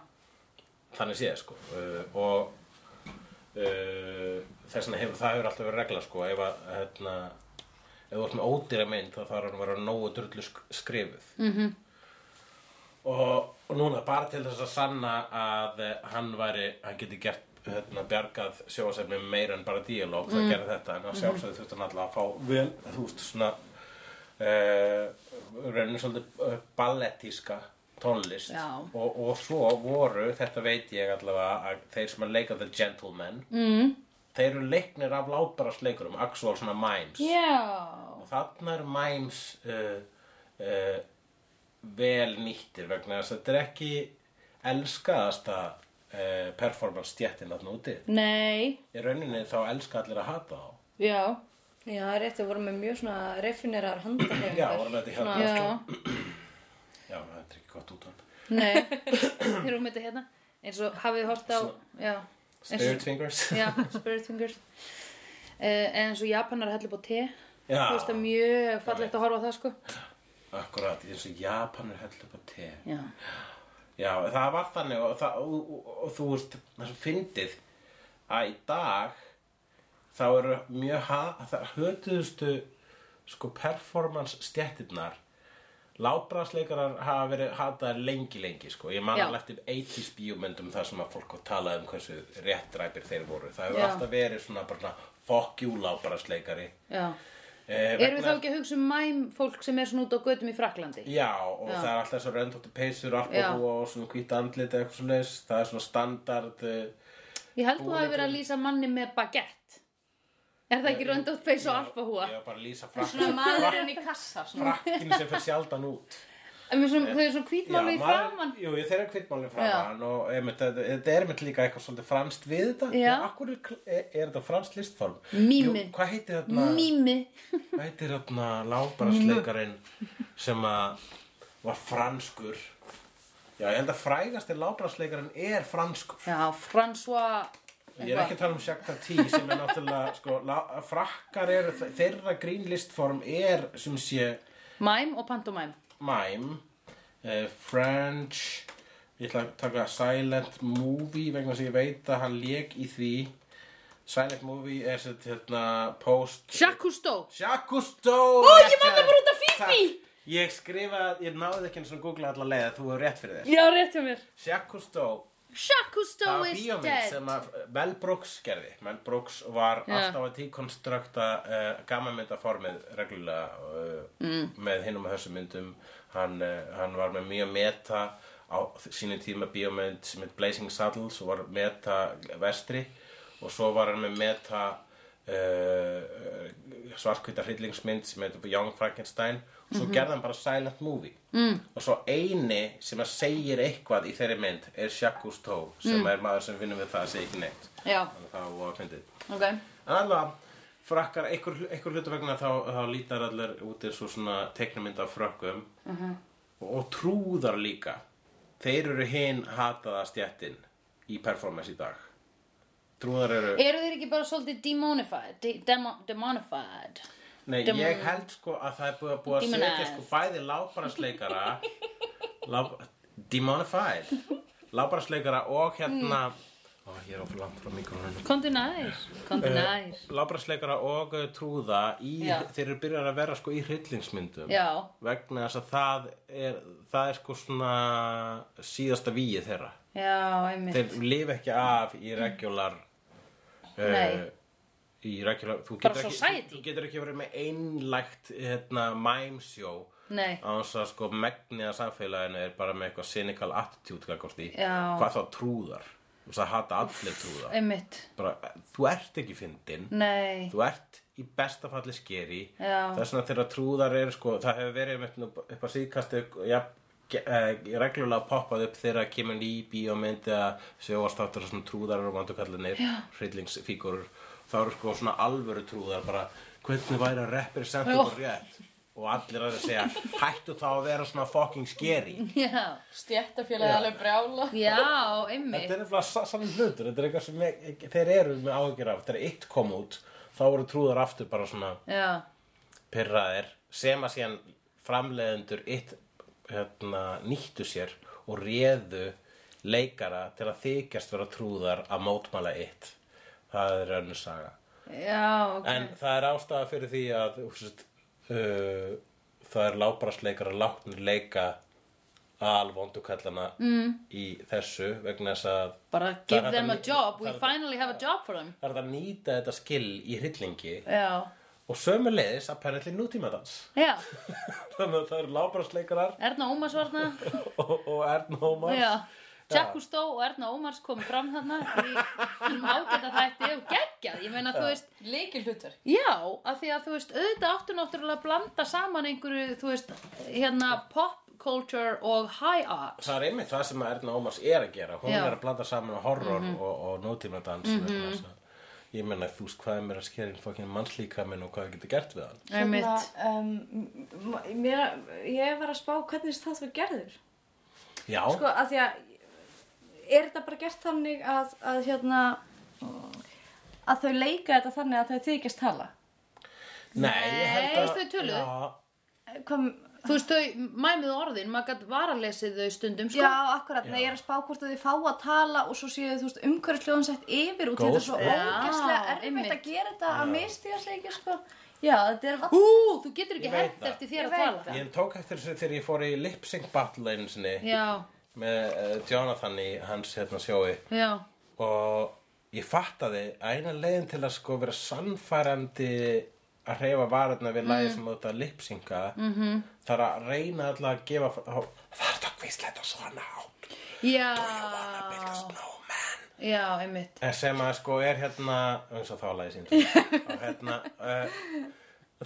þannig séð sko uh, og uh, þess vegna hefur það hefur alltaf verið regla sko ef að hérna, ef þú ert með ódýra mynd þá þarf hann að vera nógu drullu sk- skrifuð mm
Mhm.
-hmm. og, og núna bara til þess að sanna að eh, hann væri, hann geti gert hérna, bjargað sjóasefni meira en bara díalóg
Mm.
það gerði þetta
Mhm.
en að sjálfsögðu þurfti hann alltaf að fá vel þú veist svona uh, rauninu svolítið eh, ballettíska tónlist
Já.
og, og svo voru, þetta veit ég allavega að þeir sem að leika The Gentleman mm.
Mhm.
þeir eru leiknir af látbarasleikurum, actual svona mimes
já.
og þarna eru mimes uh, uh, vel nýttir vegna þess að þetta er ekki elskaðasta uh, performance stjættin þarna úti
nei,
í rauninni þá elska allir að hata þá
já
Já, það er rétt, við vorum með mjög svona refinerar handarhefingar.
já, vorum þetta hérna
já,
já, þetta er ekki gott útvarp
nei þeir eru með þetta hérna eins og hafið hort á já, eins og-
Spirit Fingers
já, Spirit Fingers uh, eins og Japanar hellu búið te
já,
þú veist það er mjög fallegt að horfa á það sko
akkurat, eins og Japanur heldur upp á te
já,
Já, það var þannig og, það, og, og, og þú veist, það sem fyndið að í dag þá eru mjög ha- það hötuðustu sko performance stjættirnar látbrasleikarar hafa verið hataðar lengi lengi sko, ég man
Já.
alveg eftir 80s bíómyndum þar sem að fólk talaði um hversu réttræpir þeir voru, það hefur
Já.
alltaf verið svona bara svona, fuck you látbrasleikari
já,
Eh,
Erum við þá
vegna-
ekki að hugsa um mæm fólk sem er svona út á götum í Fraklandi?
Já, og það er alltaf svo röndóttu peysur, alkohú og svona hvít andlit eða eitthvað svona Það er svona standard uh,
Ég held þú hafi verið að lýsa manni með baguette. Er það ekki röndótt peis og alpahúa?
Ég var bara að lýsa frakkin,
Svona maðurinn í kassa svona.
frakkin sem fyrir sjaldan út
En við svona, þau eru svona hvítmálu í
maður-
framann.
Jú, jú, þeir eru hvitmáli framan og einmitt, þetta þetta er einmitt líka eitthvað svolítið franskt við þetta
Já.
En Akkur er, kl- er, er þetta franskt listform?
Mými.
Jú, Hvað heitir þarna,
Mými.
hvað heitir þarna lábrasleikarinn sem að var franskur Já, ég held að frægasti lábrasleikarinn er franskur
Já, François...
Ég er ekki að tala um Shakhtar T sem er náttúrulega, sko, la- frakkar eru, þeirra grínlistform er sem sé
Mæm og pantomæm.
mime, uh, French, ég ætla að taka silent movie vegna þess að ég veit að hann lék í því. Silent movie er sett hérna post...
Jacques Cousteau.
Jacques Cousteau! Ó,
ég man það bara út af Phoebe!
Ég skrifaði, ég náði ekki eins og googla allar leiða, þú hefur rétt fyrir þér.
Já, rétt hjá mér.
Jacques Cousteau
Jacques
Það
Cousteau
var
is
bíómynd
dead.
sem að Mel Brooks gerði. Mel Brooks var
Já.
alltaf að tíkonstrukta uh, gamanmyndaformið reglulega uh, með hinn og með þessum myndum. Hann, uh, hann var með mjög meta á sínu tíma bíómynd sem heit Blazing Saddles og var meta vestri og svo var hann með meta uh, svartkvita hryllingsmynd sem heit Young Frankenstein og svo gerði hann bara silent movie mm. og svo eini sem að segir eitthvað í þeirri mynd er Shakus Tó sem er maður sem finnum við það að segja ekki neitt
Já,
þannig að það var fyndið
ok.
en allavega frakkar einhver, einhver hlutu vegna þá, þá lítar allir út eins og svona teknumynd af frökkum
Mhm.
og, og trúðar líka þeir eru hinn hataða stjættin í performance í dag trúðar eru
Eru þeir ekki bara svolítið demonified? De demo demonified?
Nei,
Dem-
ég held sko að það er búið að, búið að setja
Demonized.
sko bæði lábarasleikara láb, Demonified Lábarasleikara og hérna Ó, ég er of langt frá mikrófónu
Kondu nær, kondu
Eh.
nær.
Lábarasleikara og uh, trúða í,
Já.
þeir eru byrjar að vera sko í hryllingsmyndum
Já.
vegna þess að það er það er sko svona síðasta víið þeirra
Já, einmitt.
þeir lifa ekki af í regular eh,
Nei.
í regular þú
Bara
getur, ekki,
society.
þú getur ekki verið með einlægt hérna, mæmsjó
Nei.
á þess að sko megnið að samfélaginu er bara með eitthvað cynical attitude gagvart því
Já.
hvað þá trúðar og það hata allir trúðar
Einmitt.
bara, þú ert ekki fyndin
Nei.
þú ert í besta falli skeri
Já.
þess vegna þegar trúðar er sko, það hefur verið einmitt nú upp á síðkastu ja, uh, reglulega poppað upp þegar kemur ný bíómynd eða sjóastáttur og svona trúðar og vandukallinir, hryllingsfígurur þá eru sko svona alvöru trúðar bara hvernig væri að representa og rétt og allir að segja hættu þá að vera svona fucking skeri
Já.
Stjættafélagi alveg brjála.
Já, einmitt.
Þetta er nefnilega sann hlutur, þetta er eitthvað sem ég, ég, þeir eru með áhyggjur af, þegar eitt kom út þá voru trúðar aftur bara svona
Já.
pyrraðir sem að síðan framleiðendur eitt hérna, nýttu sér og réðu leikara til að þykjast vera trúðar að mótmæla eitt það er önnur saga
Já, ok.
en það er ástæða fyrir því að úst, uh, það er lábrasleikar að látnir leika alvondukallana mm. í þessu vegna þess að
Bara
Það er
give them a
þetta-
job. We
það er-
finally have a job for them.
það er að nýta þetta skill í hryllingi
Já.
og sömuleiðis að perrelli nútímadans
Já.
þannig að það eru lábrasleikarar
Erna Ómars var þarna.
og, og Erna Ómars
Já. Jack Cousteau og Erna Ómars komu fram þarna í um ágæta þætti og geggjað. Ég meina, þú veist,
Leikil hlutur.
já, af því að þú veist, auðvitað áttu náttúrulega að blanda saman einhverju, þú veist, hérna pop culture og high art.
Það er einmitt það sem að Erna Ómars er að gera hún
Já. Mhm.
er að blanda saman á horror og, og nútímadans mm -hmm. ég menna þú veist hvað er mér að skera inn fókin mannslíkaminn og hvað það getur gert við hann
Einmitt.
Hérna, Um, mér, ég var að spá hvernig þessi þáttur gerður.
já,
Sko, að því að er þetta bara gert þannig að, að hérna að þau leika þetta þannig að þau þykjast tala?
nei, ég
Nei,
held að
veistu þau töluðu?
já,
Kom,
Þú veist, þau mæmið orðin, maður gætt varalesið þau stundum, sko.
já, akkurat, nei, ég er að spá hvort að þau fá að tala og svo séu þú veist umhverfisljóðan sett yfir og þetta er svo
Ghost Air.
ógæslega
Já,
erfitt
einmitt.
að gera þetta að mistíðasleikja, sko. Já, þetta er vatn.
Ú, þú getur
Ég
ekki
veit
hent
það.
eftir þér
Ég
að
veit
tala.
það.
ég tók eftir þessu þegar ég fór í lip sync battle einu sinni
Já,
með uh, Jonathan í hans hérna sjói
já,
og ég fattaði að eina leiðin til að sko vera sannfærandi að hreyfa varurna við lagi sem þú ert að lipsinga -hmm. það er að reyna alltaf að gefa það er það hvíslega svona átt
já,
um. snowman
já, einmitt
En sem að sko er hérna eins og þá lagi sín og hérna uh,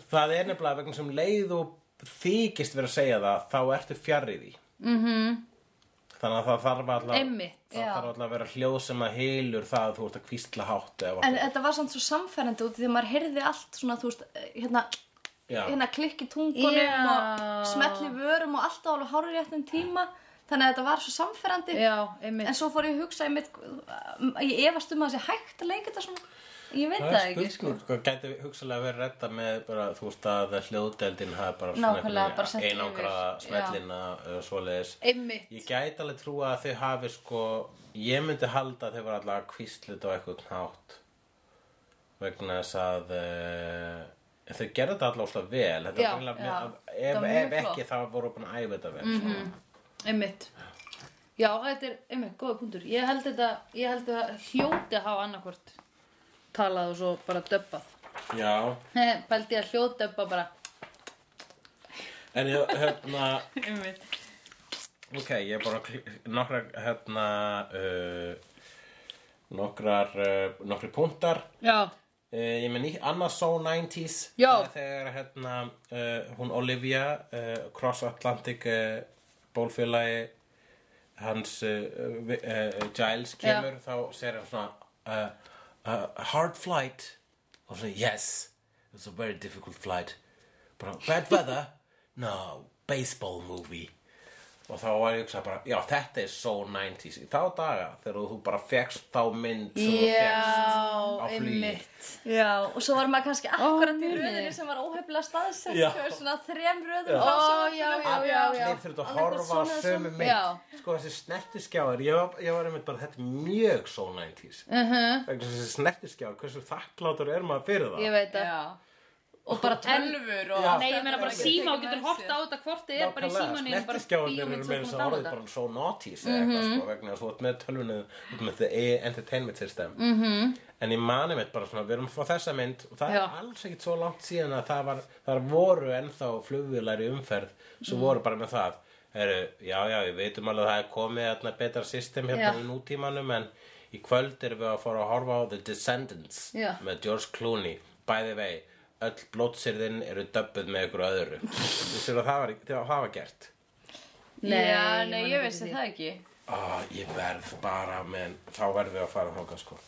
það er nefnilega vegna sem leið og þykist verið að segja það þá ertu fjarr í því -hmm. þannig að það þarf alltaf
Einmitt,
það
já.
þarf alltaf að vera hljóð sem að heilur það að þú ert að kvísla hátt eða
En
whatever.
þetta var samt svo samferðandi út af því að maður heyrði allt svona, þú veist, hérna,
Já.
hérna klikki tungunum
Já.
og smelli vörum og allt á alveg hárið réttin tíma. Þannig að þetta var svo samferðandi.
já, einmitt
En svo fór ég að hugsa, einmitt, ég efast um að það sé hægt að leika þetta svona. Ég veit
Það
það,
er
ekki, sko.
spurning, sko, gæti hugsalega verið redda með bara, þú veist að hljóðdeldin hafi bara
Nákvæmlega, bara sett yfir,
einangra
já.
smellina uh, svoleiðis.
einmitt,
Ég gæti alveg trúa að þau hafi sko Ég myndi halda að þau var allavega kvíslit á eitthvað nátt vegna þess að uh, þau gerðu þetta allavega óslega vel Þetta
Já,
var eiginlega
já.
með,
Þetta
ef,
var
ef
mjög Mhm.
ekki þá voru búin að æfa þetta vel sko.
einmitt já, þetta er, einmitt, góða punktur ég held þetta, ég held þetta hljóti að hafa annarkvort talað og svo bara döbbað
Já,
Bældi ég að hljóðdöbba bara
en ég, hérna
einmitt.
Ok, ég er bara kl- nokkrar hérna uh, nokkrar uh, nokkri punktar
Já,
Uh, ég meni, annað So 90s
Já.
það er þegar hérna uh, hún Olivia uh, Cross Atlantic uh, bólfélagi hans uh, vi- uh, Giles kemur þá sér hann svona uh, uh, hard flight og svona yes it's a very difficult flight bara bad weather no baseball movie og þá var ég að hugsa bara já þetta er So 90s í þá daga þegar þú bara fegst þá mynd sem þú fékkst
já,
á flugi.
einmitt
Já, og svo var maður kannski akkurat í
mjög
röðinni
niður.
sem var óhefnilega staðsett,
Já.
sko, svona þrem röðum
Ó,
frá
já,
sjónvarpinu.
já, já, já
allir þurft að horfa á
svona
sömu
sem-
mynd
Já.
sko þessi snertiskjáður ég, var- ég var einmitt bara þetta er mjög so 90s uh -huh. þessi snertiskjáður hversu þakklátur er maður fyrir það
Uh-huh. Ég veit það
Og bara tölfur og...
Já.
Nei, ég meina bara síma og getur horta á þetta hvort þið er bara í símanum bara
snertiskjáður
bíómynd
eru
sem
með
þú Mhm.
þess
ert
að
að
orðið
downloada.
bara so 90s eða eitthvað sko vegna þess að þú ert með tölvunni þú ert með the entertainment system mm -hmm. en ég mani mitt bara svona við erum frá þessa mynd og það
Mhm. Já.
er alls ekkit svo langt síðan að það var þar voru ennþá flugvélari umferð sem
Mhm.
voru bara með það Heru, já já ég veitum alveg að það er komið þarna betra system
Já.
hérna í nútímanum en í kvöld erum við að fara að horfa á The Descendants
Já.
með George Clooney by the way öll blótsirðin eru döbbuð með ykkur öðru þess að það var, það var gert
Já,
Nei,
nei,
man
ég
ekki
vissi
því.
það ekki.
Ah, ég verð bara, menn, þá verðum við að fara þáka, sko.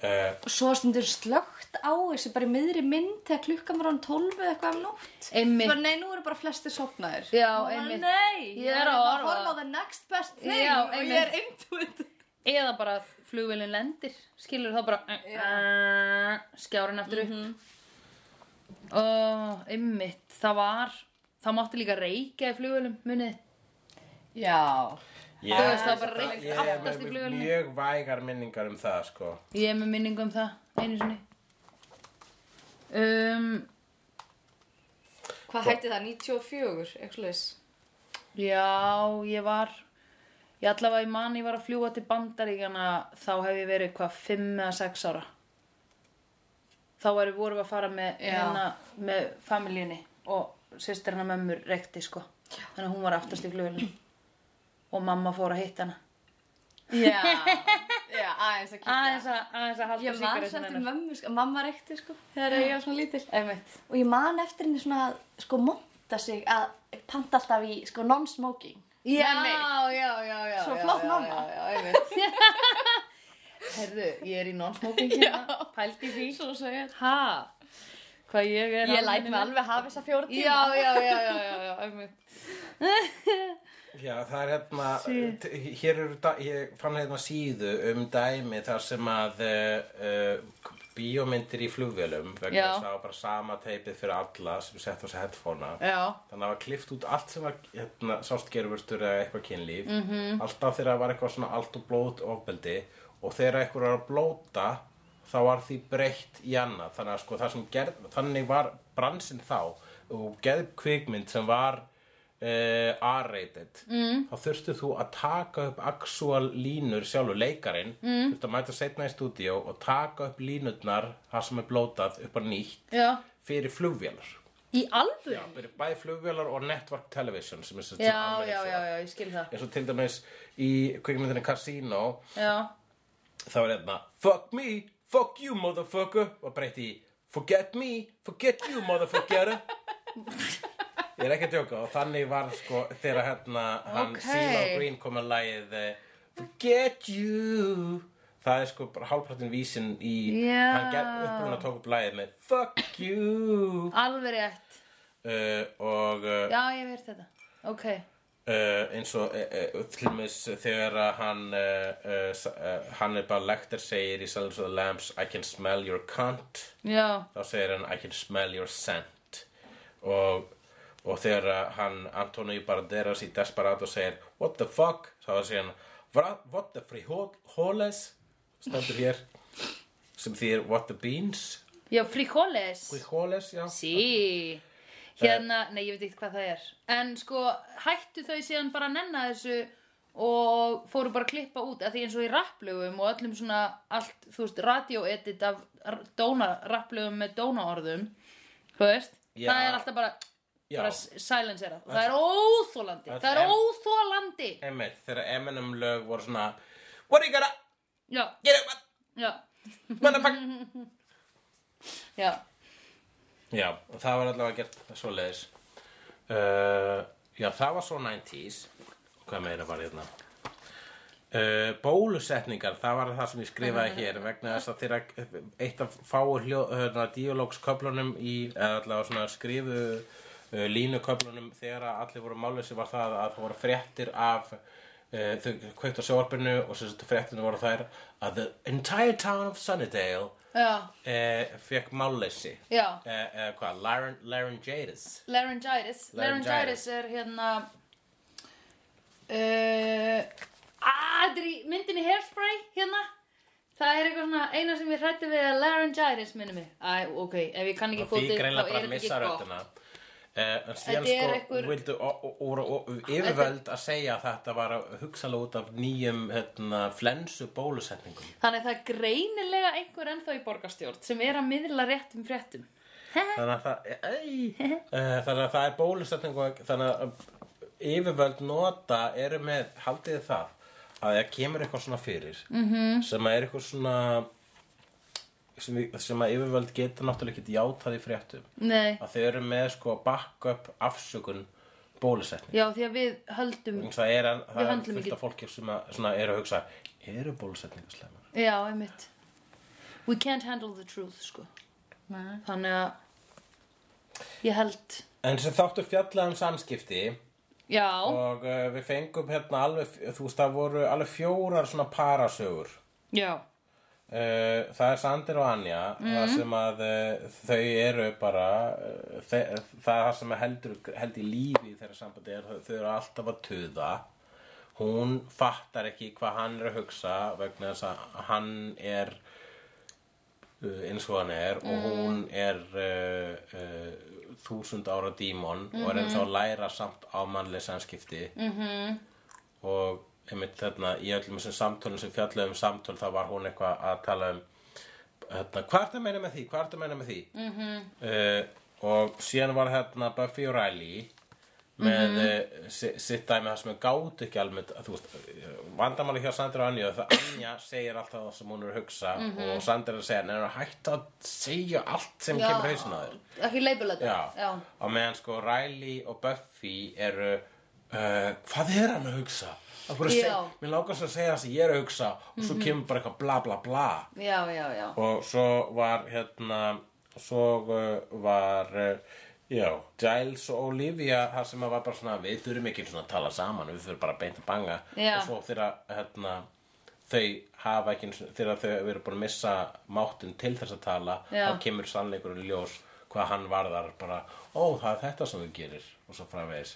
Uh,
Og svo stundur slögt á þessu bara í miðri mynd þegar klukkan var án 12 eða eitthvað af nótt.
Einmitt.
Bara, nei, nú eru bara flesti sofnaðir.
Já,
Og maður,
einmitt.
Nei,
Ég er að
bara
horfa.
horfa á the next best thing
Já,
og ég
einmitt.
er into it.
Eða bara að flugvélin lendir Skilur þá bara uh, Skjárin aftur upp Ó, einmitt Það var, það mátti líka reykja í flugvélum Munið
Já.
ég,
Þú veist, það var bara reykt
ég er
aftast
með
í flugvélunum.
mjög vægar minningar um það, sko.
Ég er með minningu um það Einu sinni um,
Hvað hætti það? 94, eitthvað leis.
Já, ég var Ég allavega í manni var að fljúga til bandaríkjana Þá hef ég verið hvað 5 eða 6 ára Þá erum vorum við að fara með,
Já.
hérna, með familíunni Og systir hennar mömmur reykti sko Þannig að hún var aftast í flugulinn Og mamma fór að hitta hana
Já, já, aðeins að kíkja.
Aðeins að, aðeins að halda
Ég man
sígarettunni
samt eftir
hennar.
mömmu, sko, mamma reykti sko, þegar ég var svona lítil.
Einmitt.
Og ég man eftir henni svona, að, sko, monta sig að panta alltaf í, sko, non-smoking.
Já,
Nei,
já, já, já
Svo
já,
flott
já,
mamma.
já, já, einmitt. Herðu, ég er í non-smoking hérna Pældi í því
Svo segja.
Ha? Hvað ég er
Ég læt mig alveg hafa þessa fjóra tíma.
Já, já, já, já, já, já, einmitt
Já, það er hérna, t- hér eru, da- ég fann hérna síðu um dæmi þar sem að uh, uh, bíómyndir í flugvélum, vegna
Já.
þess að það var bara sama teipið fyrir alla sem sett á sig headphonea.
Já,
Þannig að það var klift út allt sem var hérna, sást gerfurtur eða eitthvað kynlíf mm -hmm. Alltaf þegar það var eitthvað svona allt og blóð ofbeldi og þegar eitthvað var að blóta þá var því breytt í annað þannig að sko það sem gerð, þannig var bransinn þá og geð kvikmynd sem var uh, R-rated mm. þá þurftir þú að taka upp actual línur sjálfur leikarin mm. þurftir að mæta setna í stúdíó og taka upp línurnar þar sem er blótað upp á nýtt
já,
fyrir flugvélar
í alvöru
Já, fyrir bæði flugvélar og network television sem er sem
já, já, já, já, ég skil það
eins og til dæmis í kvikmyndinni Casino
já,
þá er þetta fuck me, fuck you motherfucker og breytti í forget me, forget you motherfucker ég er ekki að djóka og þannig var sko þegar hérna hann
Ok.
Silo Green kom að lagið eh, forget you það er sko bara hálfpartin vísin í
Já.
hann gerð upprúna tók upp lagið með fuck you
alveg rétt
uh, og uh,
já, ég verð þetta, ok
uh, eins og uh, upptilmis þegar að hann uh, uh, s- uh, hann er bara lektar segir í Silence of the Lambs I can smell your cunt
já,
þá segir hann I can smell your scent og, og þegar að hann Antoni Banderas í Desperado segir what the fuck þá segir hann "Vra- what the frijoles stendur hér sem þýr what the beans
já, frijoles
frijoles já
sí hérna, nei, ég veit ekki hvað það er en sko, hættu þau síðan bara að nenna þessu og fóru bara að klippa út af því eins og í rapplögum og öllum svona allt, þú veist, radioedit af r- dóna, rapplögum með dónaorðum þú veist,
Já.
það er alltaf bara
Já.
bara s- silencera og það er óþólandi,
Öll
það er
em-
óþólandi
einmitt þegar Eminem lög voru svona what are you gonna
já,
get up
já,
motherfucker
já
Já, og það var allavega gert svoleiðis. Uh, já, það var svo 90s. Hvað meira var hérna? Uh, bólusetningar, það var það sem ég skrifaði hér vegna þess að þeirra eitt af fáu hljó, hérna, díolóksköflunum í, eða allavega svona skrifu uh, línuköflunum þegar að allir voru málusi var það að það voru fréttir af uh, þau kveikt á sjóarpinu og sem þetta fréttinu voru þær að the entire town of Sunnydale
já,
uh, fekk málleysi
já
Eh, eh, hvað, Laryng laryngitis
Laryngitis Laryngitis
Laryngitis.
er hérna uh, Adri, myndin í Hairspray hérna Það er eitthvað svona eina sem ég hrætti við er laryngitis minnum mig Æ, ok, ef ég kann ekki
og því
kvótið þá
greinlega
er
bara
þetta
að
ekki
missa
gott
röddina eh, en síðan
Þetta er
sko
einhver-
vildu o- o- voru o- yfirvöld að segja að þetta var hugsalega út af nýjum hérna, flensu bólusetningum
Þannig að það er greinilega einhver ennþá í borgarstjórn sem er að miðla réttum fréttum
þannig að það, e, ei, eh, þannig að það er bólusetning og þannig að eh, yfirvöld nota eru með, haldið þið það að það kemur eitthvað svona fyrir
Mhm.
-hmm. sem að er eitthvað svona sem, við- sem að yfirvöld geta náttúrulega ekki játað í fréttum
Nei,
að þau eru með sko backup afsökun bólusetning
já því að við höldum
það er, það er
höndlum
fullt
ekki-
af fólki sem að, svona, eru að hugsa eru bólusetningar slæmar?
Já, einmitt We can't handle the truth, sko
Nei.
Þannig að ég held
en sem þáttu fjallað um samskipti
Já,
og uh, við fengum hérna alveg, þú veist það voru alveg fjórar svona parasögur
já
uh, það er Sander og Anja það sem að uh, þau eru bara uh, þe það sem heldur, heldur lífi þegar sambandi er, þau eru alltaf að tuða hún fattar ekki hvað hann er að hugsa vegna þess að hann er uh, eins og hann er og hún er uh, uh, þúsund ára dímon og er ennþá að læra samt á mannleg samskipti -hmm. og einmitt þarna í öllum þessum samtölum sem fjallu um samtöl þá var hún eitthvað að tala um hérna, hvað ertu að meina með því, hvað ertu að meina með því mm og síðan var hérna Buffy og Riley með mm sitt dæmi það sem er gátu ekki almennt að þú veist, vandamáli hjá Sandra og Anja er það að Anja segir alltaf það sem hún er að hugsa og Sandra er að segja, neður að hægt að segja allt sem
Já.
kemur hausinn að þér
Ekki label þetta
Já. Á meðan sko Riley og Buffy eru uh, Hvað er hann að hugsa? Af hverju
Já.
seg- Mér langar svo að segja það sem ég er að hugsa og svo kemur bara eitthvað bla bla bla
já, já, já
og svo var hérna svo uh, var uh, já, Giles og Olivia þar sem að var bara svona við þurfum ekki svona að tala saman við þurfum bara að beint að banga
Já.
og svo þegar hérna þau hafa ekki einu sinni- þegar þau eru búin að missa máttun til þess að tala
Já.
þá kemur sannleikurinn í ljós hvað hann varðar bara, ó það er þetta sem þú gerir og svo framvegis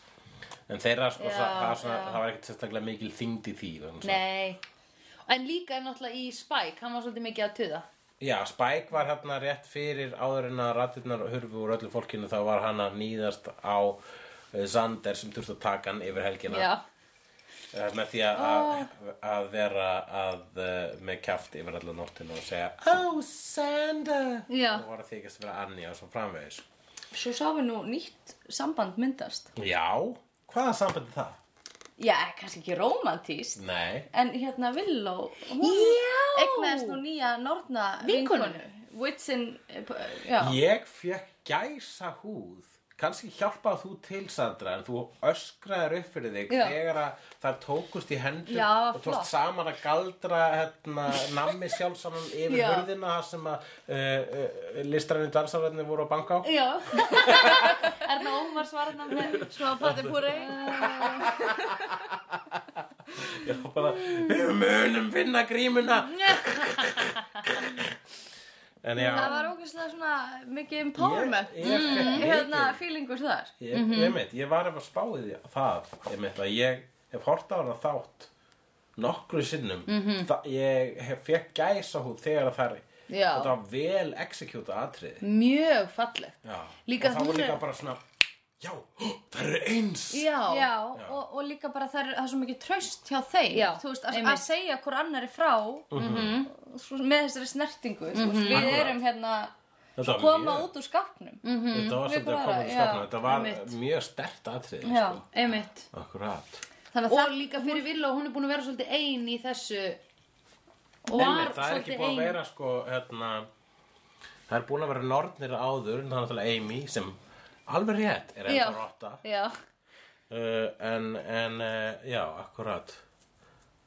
en þeirra sko,
Já,
það, það, var svona,
já.
það var ekkert sérstaklega mikil þyngd í því vegna þess að-
Nei En líka náttúrulega í Spike, hann var svolítið mikið að tuða
Já, Spike var hérna rétt fyrir áður en að ratirnar hurfu úr öllu fólkinu þá var hann að nýðast á eh, Sander sem þurfti að taka hann yfir helgina
já, Ah.
Eh, með því að, að, að vera að, eh, með kjaft yfir allan nóttina og segja Oh, Sander!
Já.
Og var að þykast vera Anja og svo framvegis.
Svo sá við nú nýtt samband myndast.
Já, hvaða sambandi það?
Já, kannski ekki rómantíst.
Nei,
En hérna Villó, hún
Já!
eignaðist nú nýja nortna
Vinkonu.
vinkonu. Witsin, já.
ég fekk gæsa húð. Kanski hjálpað þú til, Sandra, en þú öskraðir upp fyrir þig
Já.
þegar að það tókust í hendur
Já,
og
flott.
tókst saman að galdra hérna, nammi sjálfsaman yfir
Já.
hurðina þar sem að uh, uh, listræni dansarverðinni voru að banka á.
Já.
Erna Ómar svarna með
Svo að fatið púri.
Já, bara, við munum finna grímuna En já
Það var ógeðslega svona mikið empowerment.
Ég, ég, fékk mikið.
Hérna, feelingur þar.
ég,
Mhm.
ég, mitt, ég var ef að spá í því- það Ég mitt að ég hef hort á hana þátt Nokkru sinnum mm
Mhm.
Ég hef, fekk gæsa hún þegar að það er
Já.
Þetta var vel execute atriði
mjög fallegt
Já
Líka
Og það
hún
var
er-
líka bara svona Já, það eru eins
já,
Já, og, og líka bara það er, það er svo mikið tröst hjá þeim,
Já,
þú veist, að,
einmitt.
að segja hver annari frá svo, með þessari snertingu, þú veist, við
Akkúrat.
erum hérna,
Þetta var
koma
mjög-
út úr skápnum. Mm
Mhm.
-hmm.
Þetta var
Við
svolítið að
bara-
koma út
já,
skapna Þetta var
einmitt.
mjög stert atriði
Já,
sko.
einmitt
Akkurat
þannig
og
að það,
líka fyrir Villa hún er búin að vera svolítið ein í þessu og var
Einmitt, það er ekki
svolítið
búið
ein
að vera sko hérna, það er búin að vera nornir áður en það er náttúrulega Amy sem alveg rétt er
Já.
ennþá rotta uh,
já,
Eh, en, en uh, já, akkurat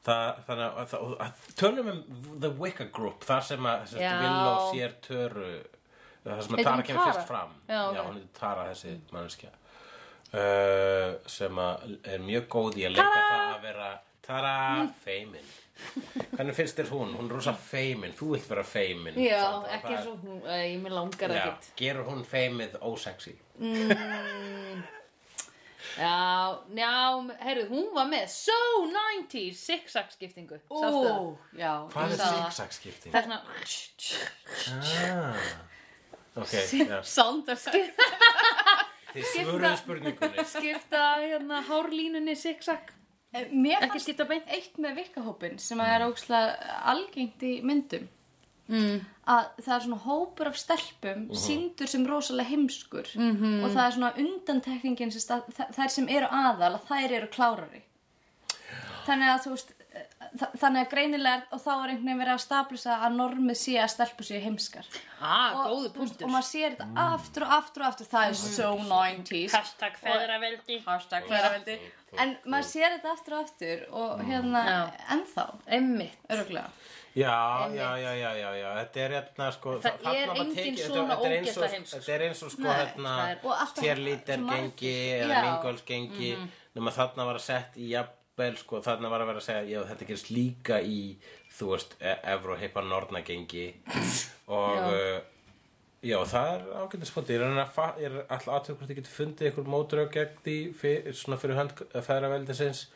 Þa, þannig að, að, að tölum um The Wicca Group þar sem að sem
Já.
sagt, Villó sér töru þar sem að
Heitir
Tara
hún
kemur
Tara?
fyrst fram
Já, ok.
hún heitir Tara þessi manneskja uh, sem að er mjög góð í að leika það að vera Tara
Mm.
feimin Hvernig finnst þér hún? Hún er rosa feimin, þú vilt vera feimin
já
Sandra,
ekki
það er-
eins og hún eh, ég mér langar
Já,
ekkert
gerur hún feimið ósexy
já, já, herru, hún var með so 90s zigzag skiptingu sástu það?
ú, já,
Hvað er
ég sá það.
zigzag-skipting?
það er svona
Ah, ok, já
Sound of
Þið svöruðu spurningunni
skipta hérna hárlínunni zigzag
Eh, Mér
Ekki
fannst
skipta beint. Mm.
eitt með vikkahópin sem að er ógslag algengt í myndum mm. að það er svona hópur af stelpum síndur sem rosalega heimskur
Mhm.
-hmm. og það er svona undantekningin sem stað, þa- þær sem eru aðal að þær eru klárari þannig að þú veist eh, þa- þannig að greinilega er- og þá er einhvern veginn verið að staplisa að normið sé að stelpur séu heimskar
ah,
og,
góðu
þú veist,
punktur
og maður sér
Mm.
þetta aftur og aftur og aftur það er so 90s
hashtag feðraveldi
hashtag feðraveldi en maður sér þetta aftur og aftur
Mm.
og hérna
Já.
ennþá
einmitt
öruglega
Já, já, já, já, já, já Þetta er hérna sko
Það
þarna
er
var
engin
tekið- þetta-
svona
þetta er eins og-
ógeðslega heimsk,
Þetta er eins og sko
það
hérna
er- og alltaf-
Tjærlítar gengi eða
Já.
mingols gengi
Mhm.
Nefna þarna var að sett í jafnvel sko Þarna var að vera að segja Já, þetta gerist líka í Þú veist, e- Evróheipa norna gengi Og uh, Já, það er ágættispunkti. Ég er að reyna að fa- ég er alltaf aðtöku hvort ég geti fundið ykkur mótrög gegn því fyrir, svona fyrir hönd feðraveldisins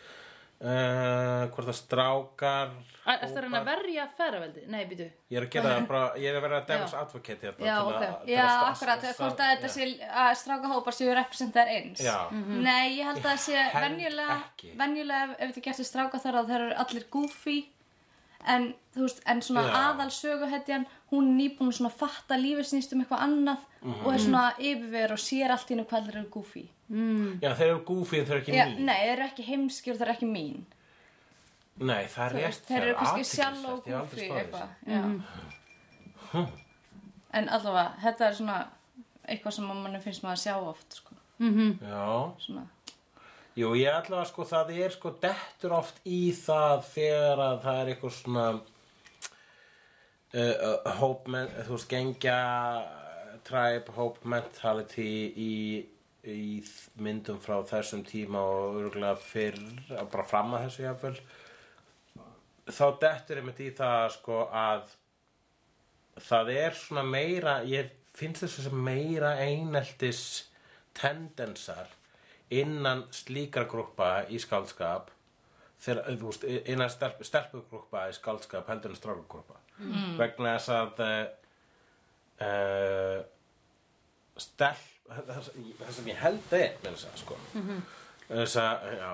uh, hvort það strákar
Er þetta að reyna
hópar-
að verja feðraveldi? Nei, býtu
Ég er að gera það bara, ég er að vera devil's advocate hérna
Já,
til að-
ok.
til að
já,
sta-
akkurat,
sta-
þegar hvort að þetta
já.
sé að strákahópar séu representar eins
Já.
nei, ég held að það sé
held
venjulega,
ekki.
venjulega ef- ef þetta gerst í stráka þar að þeir eru allir goofy en þú veist, en svona
Já.
aðal söguhetjan hún er nýbúin að svona fatta lífið sínst um eitthvað annað og
Mhm.
er svona yfirver og sér allt í hennu hvað þeir eru goofy
Já, þeir eru goofy en þeir eru ekki
já,
mín
nei, þeir eru ekki heimski og þeir eru ekki mín
Nei, það er rétt
þeir
það
eru
er
kannski
athyglisvert,
sjálf
ég
og
hef aldrei
gúfi
spáð þessu.
eitthvað já. en allavega þetta er svona eitthvað sem mann finnst maður að sjá oft sko.
Já,
svona.
jú, ég ætla að sko það er sko dettur oft í það þegar að það er eitthvað svona uh, uh, hóp men, þú veist, gengja tribe, hóp mentality í, í myndum frá þessum tíma og örgulega fyrr, bara fram að þessu jáfnvel þá dettur einmitt í það sko að það er svona meira ég finnst þess að meira eineltis tendensar innan slíkra grúppa í skáldskap þegar, eh, þú veist, innan stelp, stelpugrúppa í skáldskap heldur en strákugrúppa mm. vegna þess að uh, eh, stelp það sem- það sem ég held er með þess að sko þess að, já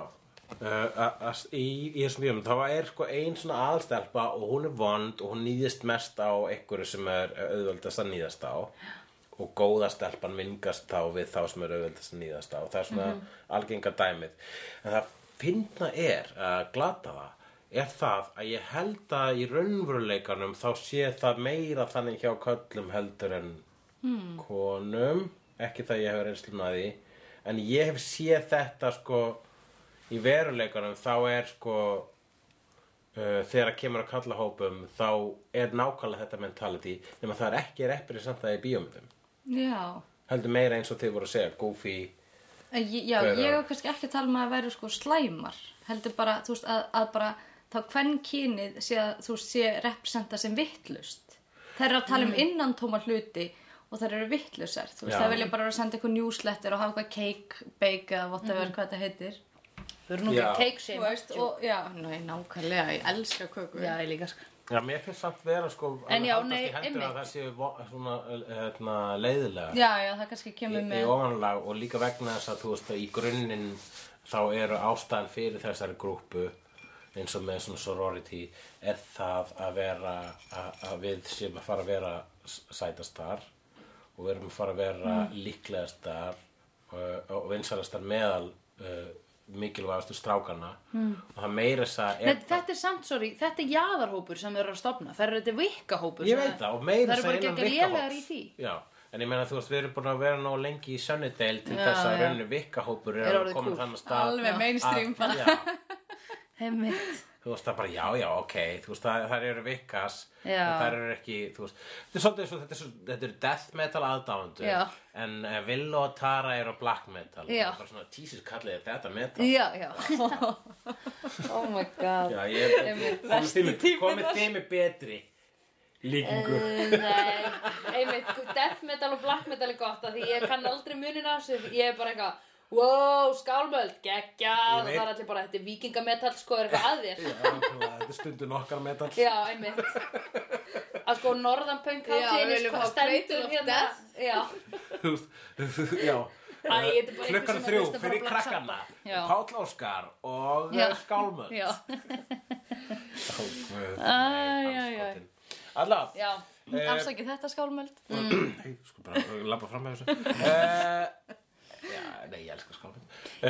Uh, að- að- í, í þessum fíum þá er sko ein svona aðstelpa og hún er vond og hún nýðist mest á einhverju sem er auðveldast að nýðast á og góða stelpan vingast þá við þá sem er auðveldast að nýðast á það er svona algenga dæmið en það finna er að glata það er það að ég held að í raunveruleikanum þá sé það meira þannig hjá köllum heldur en
Hmm.
konum ekki það ég hefur einslum að því en ég hef séð þetta sko í veruleikanum þá er sko uh, þegar að kemur að kalla hópum þá er nákvæmlega þetta mentality nema það er ekki represent það í bíómyndum
Já.
heldur meira eins og þið voru að segja goofy
Eh, ég- Já,
Hver er-
ég var kannski ekki að tala um að vera sko slæmar, heldur bara, þú veist, að, að bara þá hvern kynið sé að, þú veist, sé representa sem vittlust. Þær eru að tala um innantóma hluti og þær eru vittlusar, þú
Já.
veist, þær vilja bara vera að senda eitthvað newsletter og hafa eitthvað cake, bake eða whatever, hvað þetta heitir.
Þau eru nú ekki
Já.
að cake
Þú
shame
veist, og já, nei, nákvæmlega, ég elska kökur.
Já, ég líka sko
Já, mér finnst samt vera sko
En
alveg
já,
haldast
nei,
í hendur
einmitt.
að það séu vo- svona hérna, leiðilega
já, já, það kannski
í,
kemur
í
með,
ofanlag og líka vegna þess að þú veist að í grunninn þá eru ástæðan fyrir þessari grúpu eins og með svona sorority er það að vera að, að við séum að fara að vera s- sætastar og við erum að fara að vera
Mm.
líklegastar og, og vinsalastar meðal uh, mikilvægastu strákana mm. og það meira þess að
Nei, þetta er samt, sorry, þetta er jaðarhópur sem þau eru að stopna Það eru þetta vikkahópur
Ég veit það og meira
Það eru bara
segja innan
gegn
Vikahóps.
lélegar í því
Já, en ég meina þú veist, við erum búin að vera nóg lengi í Sunnydale til
Já,
þess að
já.
rauninu vikkahópur
Er
er að
orðið
koma
kúl.
þannig að stað
alveg mainstream bara.
já,
Heimitt
þú veist það bara, já, já, ok þú veist, það, það eru vikkas
Já.
en það eru ekki, þú veist þetta er svolítið svo, þetta er svo, þetta eru death metal aðdáðundu
Já.
en uh, Villó og Tara eru black metal
Já.
bara svona, tísis kallið þið þetta metal
Já, já Oh my god
Já, ég,
Einmitt.
komið þið með- komið þið með betri líkingu
Uh, Nei, einmitt, sko, death metal og black metal er gott af því ég kann aldrei munin á þessu ég er bara eitthvað, wow, skálmöld geggja,
Ég
og
veit.
það er allir bara þetta er vikingametal, sko, er eitthvað að þér
Já, nákvæmlega, þetta er stundin okkar metal
Já, einmitt að sko norðanpöng
Já, við viljum fá Cradle of Death.
sko hérna. Já,
Þú veist, já
Æ, þetta er bara einhver sem
klukkan
er
þrjú
að hlusta bara
fyrir
á Black
krakkana
Já.
Páll Óskar og eh,
Já.
Skálmöld
já, Æ, já, já.
Allá
já Mm.
Afsakið þetta skálmöld.
Sko bara labba fram með þessu Eh, Já, nei, ég elskar Skálmöld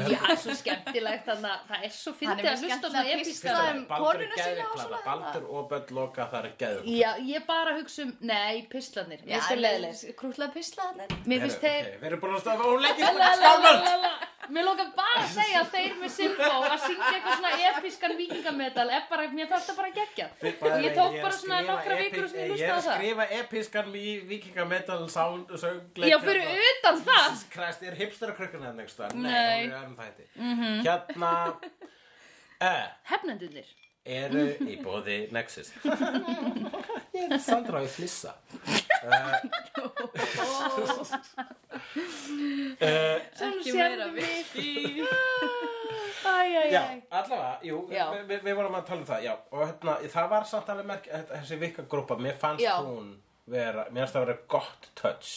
Já, svo skemmtilegt þannig að það er svo fyndið
mjög
að hlusta á
skemmtilega
svona
að
epíska
pissa. um
Baldur
konuna
er
sína og
geðviklada
svona.
Baldur og Böll Loka það er geðviklada
Já, ég bara hugsa um, nei, pislarnir Mér finnst þau leðilegir
Krútlega pislaðanir.
Mér finnst þeir
Við erum búin að staða hún lengi Skálmöld
Skálmöld Mér lókar bara að segja að þeir með Simbo að syngja eitthvað svona episkan vikingametal er bara, mér fannst það bara gegja og ég tók bara svona nokkra vikur og svona ég
Ég er að
hlusta á það
skrifa episkan í vikingametal söngleik
Já, fyrir utan það
Jesus Christ, er hipsterakrökkun eða einhvers staðar?
Nei. Mhm.
Nei, hún er í öðrum þætti. Hérna uh,
Hefnendunir
e, eru í bóði Nexus. ég er Sandra í flissa.
Ekki meira
við Æjæjæ
Já, allavega, jú,
Já.
vi, vi, við vorum að tala um það, já, og hérna, það var samt alveg merk, þetta- þessi vikkagrúpa, mér fannst
Já.
hún vera, mér fannst það vera gott touch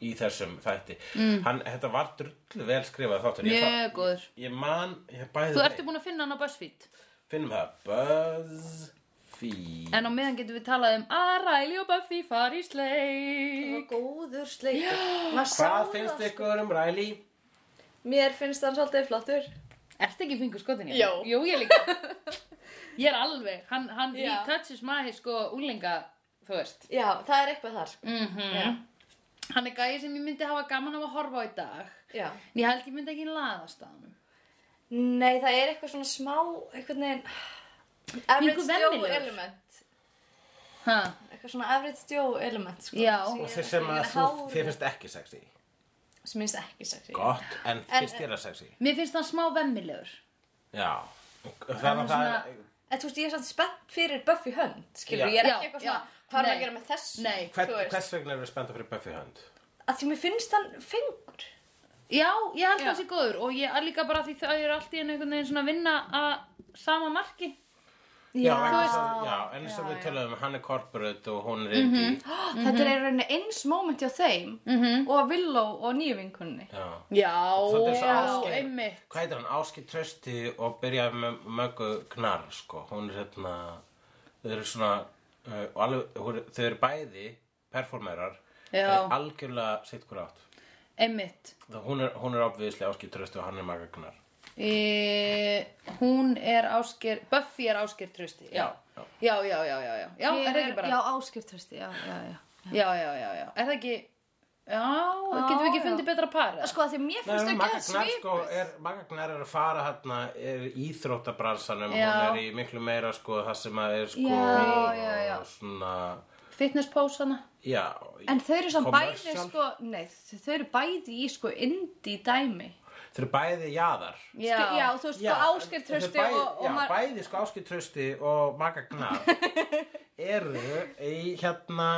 í þessum þætti. Mm. Hann, þetta var drullu vel skrifað þáttur. Ég
Mjög
þa-
góður.
Ég man, ég bæði
Þú ertu búin að finna hann á BuzzFeed
Finnum það, BuzzFeed.
En á meðan getum við talað um að Riley og Buffy fari í sleik
Góður sleikur. Maður sá
Hvað
það,
finnst
sko.
ykkur um Riley?
Mér finnst hann svolítið flottur.
Ertu ekki fingur skotin í
Já.
hann? Jú, ég líka Ég er alveg, hann, hann í
Já.
touches maður sko úlinga, þú veist
Já, það er eitthvað þar. Mm
Hann er gæði sem ég myndi hafa gaman af að horfa á í dag
Já.
En ég held ég myndi ekki laðast að hann
Nei, það er eitthvað svona smá, eitthvað neginn, average Joe
venjulegur.
element.
Ha,
Eitthvað svona average Joe element, sko.
Já.
Sem ég-
Og þeir sem að
ég-
þú,
hár-
þér finnst ekki sexy
Sem minnst ekki sexy.
Gott, en finnst þér að sexy
mér finnst hann smá vemmilegur
Já Þannig að það er
En þú veist, ég er svolítið spennt fyrir Buffy Hunt, skilur.
Já.
Ég er
Já,
ekki eitthvað
já.
svona, hvað er maður
Nei.
að gera með þessu?
Nei.
hvern,
þú veist.
Hvers vegna eru spennta fyrir Buffy Hunt?
Að því mér finnst hann fengur.
Já, ég held
Já.
það sé góður og ég er líka bara því þau eru allt í einu einhvern veginn svona að vinna að sama marki
Já, en
Já. Þú
eins
veist-
og- já, en eins og
Já, Mhm.
við
já.
tölum, hann er corporate og hún er indi
Ah,
Mhm.
Þetta er í rauninni eins moment hjá þeim -hmm. og Willow og nýju vinkunni.
Já Svolítið eins og
Já,
Ásgeir.
einmitt
Hvað heitir hann? Áskei Trösti og byrjaði með möggu knar, sko. Hún er hérna, þau eru svona, uh, og alveg, hún, þau eru bæði performerar,
Já.
en algjörlega sitt hver átt.
Einmitt
Það, hún er, hún er opviðislega Áskei Trösti og hann er möggu knar.
e, Hún er ásker Buffy er ásker trösti Já,
Já,
já, já, já, já Já, já er það ekki bara
Já,
já.
áskiptrösti, já, já, já.
já, já, já, Er það ekki Já, getum við ekki
já.
fundið betra par eða?
Sko að því mér finnst
Nei,
þau
Magga
geða
Gnar sko
svipuð.
er, Magga Gnar er að fara hérna er í íþróttabransanum
Já.
hún er í miklu meira sko það sem að er sko
Já, já, já.
svona
Fitness pósana
já,
En þau eru samt bæði
commercial.
sko, nei, þau eru bæði í sko indie dæmi.
þau eru bæði jaðar
Já,
Sko, já þú veist, sko
en-
áskiptrösti
en þau bæði-
og, og
já,
maður...
bæði sko áskiptrösti og Magga Gnar eru í hérna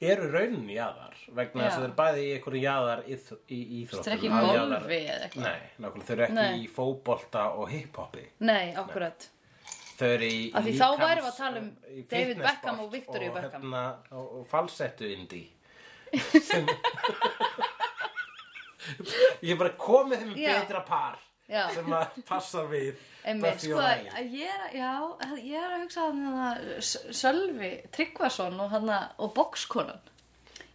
eru raunin jaðar vegna þess
Já.
að þau eru bæði í einhverju jaðar í, í íþróttum
Þetta er ekki
að
golfi
jaðar-
eða eitthvað.
Nei, nákvæmlega, þau eru ekki
Nei.
í fótbolta og hiphopi
Nei, akkurat
Þau eru í
Af því
líkams-
þá værum við að tala um
í
David
fitnesssport
Beckham og Victoria Beckham.
hérna, og, og falsettu indi Ég er bara komið þeim
Já.
betra par
Já.
sem að passa við
Einmitt,
Buffy
Sko,
og Riley.
að ég er, að- já, ég er að hugsa hann að Sölvi Tryggvason og hann og bokskonan.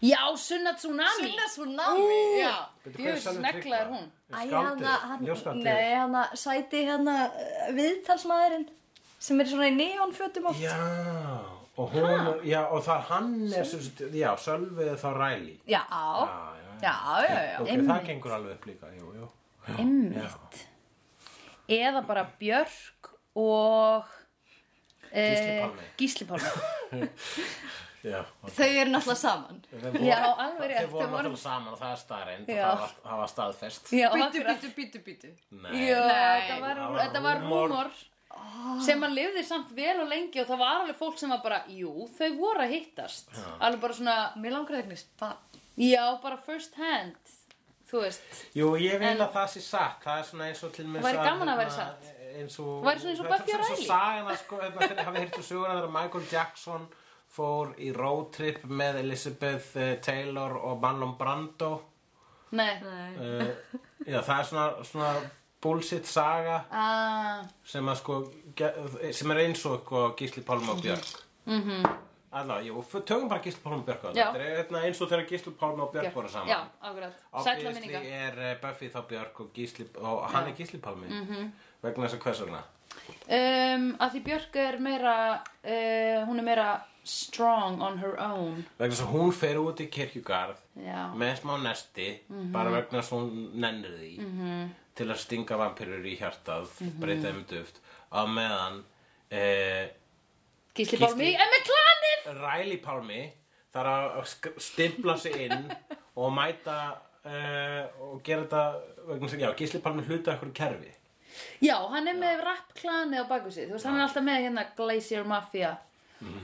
Já, Sunna Tsunami
Sunna Tsunami.
Ú, Já,
Bíddu, hver er
djöfull
Sölvi
negla er
Tryggva?
hún
Æ,
Skáldið,
hana, hann,
ljóskáldið.
nei, hana, sæti hana uh, viðtalsmaðurinn sem er svona í neonfjötum oft.
Já, og hún, já, og það hann er, sem, sagt- já, Sölvið þá Ræli
Já,
Oh.
Já, já,
já, já, já.
ok,
Einmitt.
það gengur alveg upp líka, jú, jú
Einmitt Eða bara Björk og eh,
Gísli Pálmi.
Gísli Pálmi
Já, ok.
Þau eru náttúrulega saman.
Þau voru-
Já, alveg rétt,
Þau voru
þau voru-
náttúrulega saman og það er staðreind og
Já.
það var- það var staðfest
Já,
Býtu,
akkurat.
býtu, býtu, býtu.
Nei,
Já,
Nei,
þetta var,
það var
þetta var
rúmor.
rúmor sem hann lifði samt vel og lengi og það var alveg fólk sem var bara, jú, þau voru að hittast alveg bara svona,
Mér langar það eignist bann.
já, bara first hand þú veist,
Jú, ég vil að það sé satt Það er svona eins og til mér
Væri gaman að væri satt.
eins og,
Væri svona eins og Buffy og
Þetta er
Riley.
svona sagina, sko, hérna, þegar hafið hýrt og söguna þegar Michael Jackson fór í roadtrip með Elizabeth eh, Taylor og Marlon Brando
nei
uh, Já, það er svona, svona bullshit saga
ah,
sem, að, sko, ge- sem er eins og sko, Gísli Pálma og Björk mm -hmm. Alla, jú, f- tökum bara Gísli Pálma og Björk á þetta.
Mhm. Já.
Þetta er hérna, eins og þegar Gísli Pálma og Björk voru saman
já, akkurat, sætla minninga
Obviously er eh, Buffy þá Björk og Gísli og hann er Gísli Palmi
Mhm.
vegna þess að hvers vegna
um, að því Björk er meira uh, hún er meira strong on her own
vegna þess að hún fer út í kirkjugarð
já, Mhm.
með smá nesti bara vegna þess að hún nennir því -hmm. til að stinga vampirur í hjartað
Mhm.
breyta þeim í duft á meðan eh,
Gísli
Gísli-
Pálmi, en með klanið
Riley Palmi þarf að sk- stimpla sig inn og mæta eh, og gera þetta vegna þess að já, Gísli Palmi hluta eitthvað kerfi
Já, hann er með rap klanið á baku sig Þú veist, hann er alltaf með hérna Glacier Mafia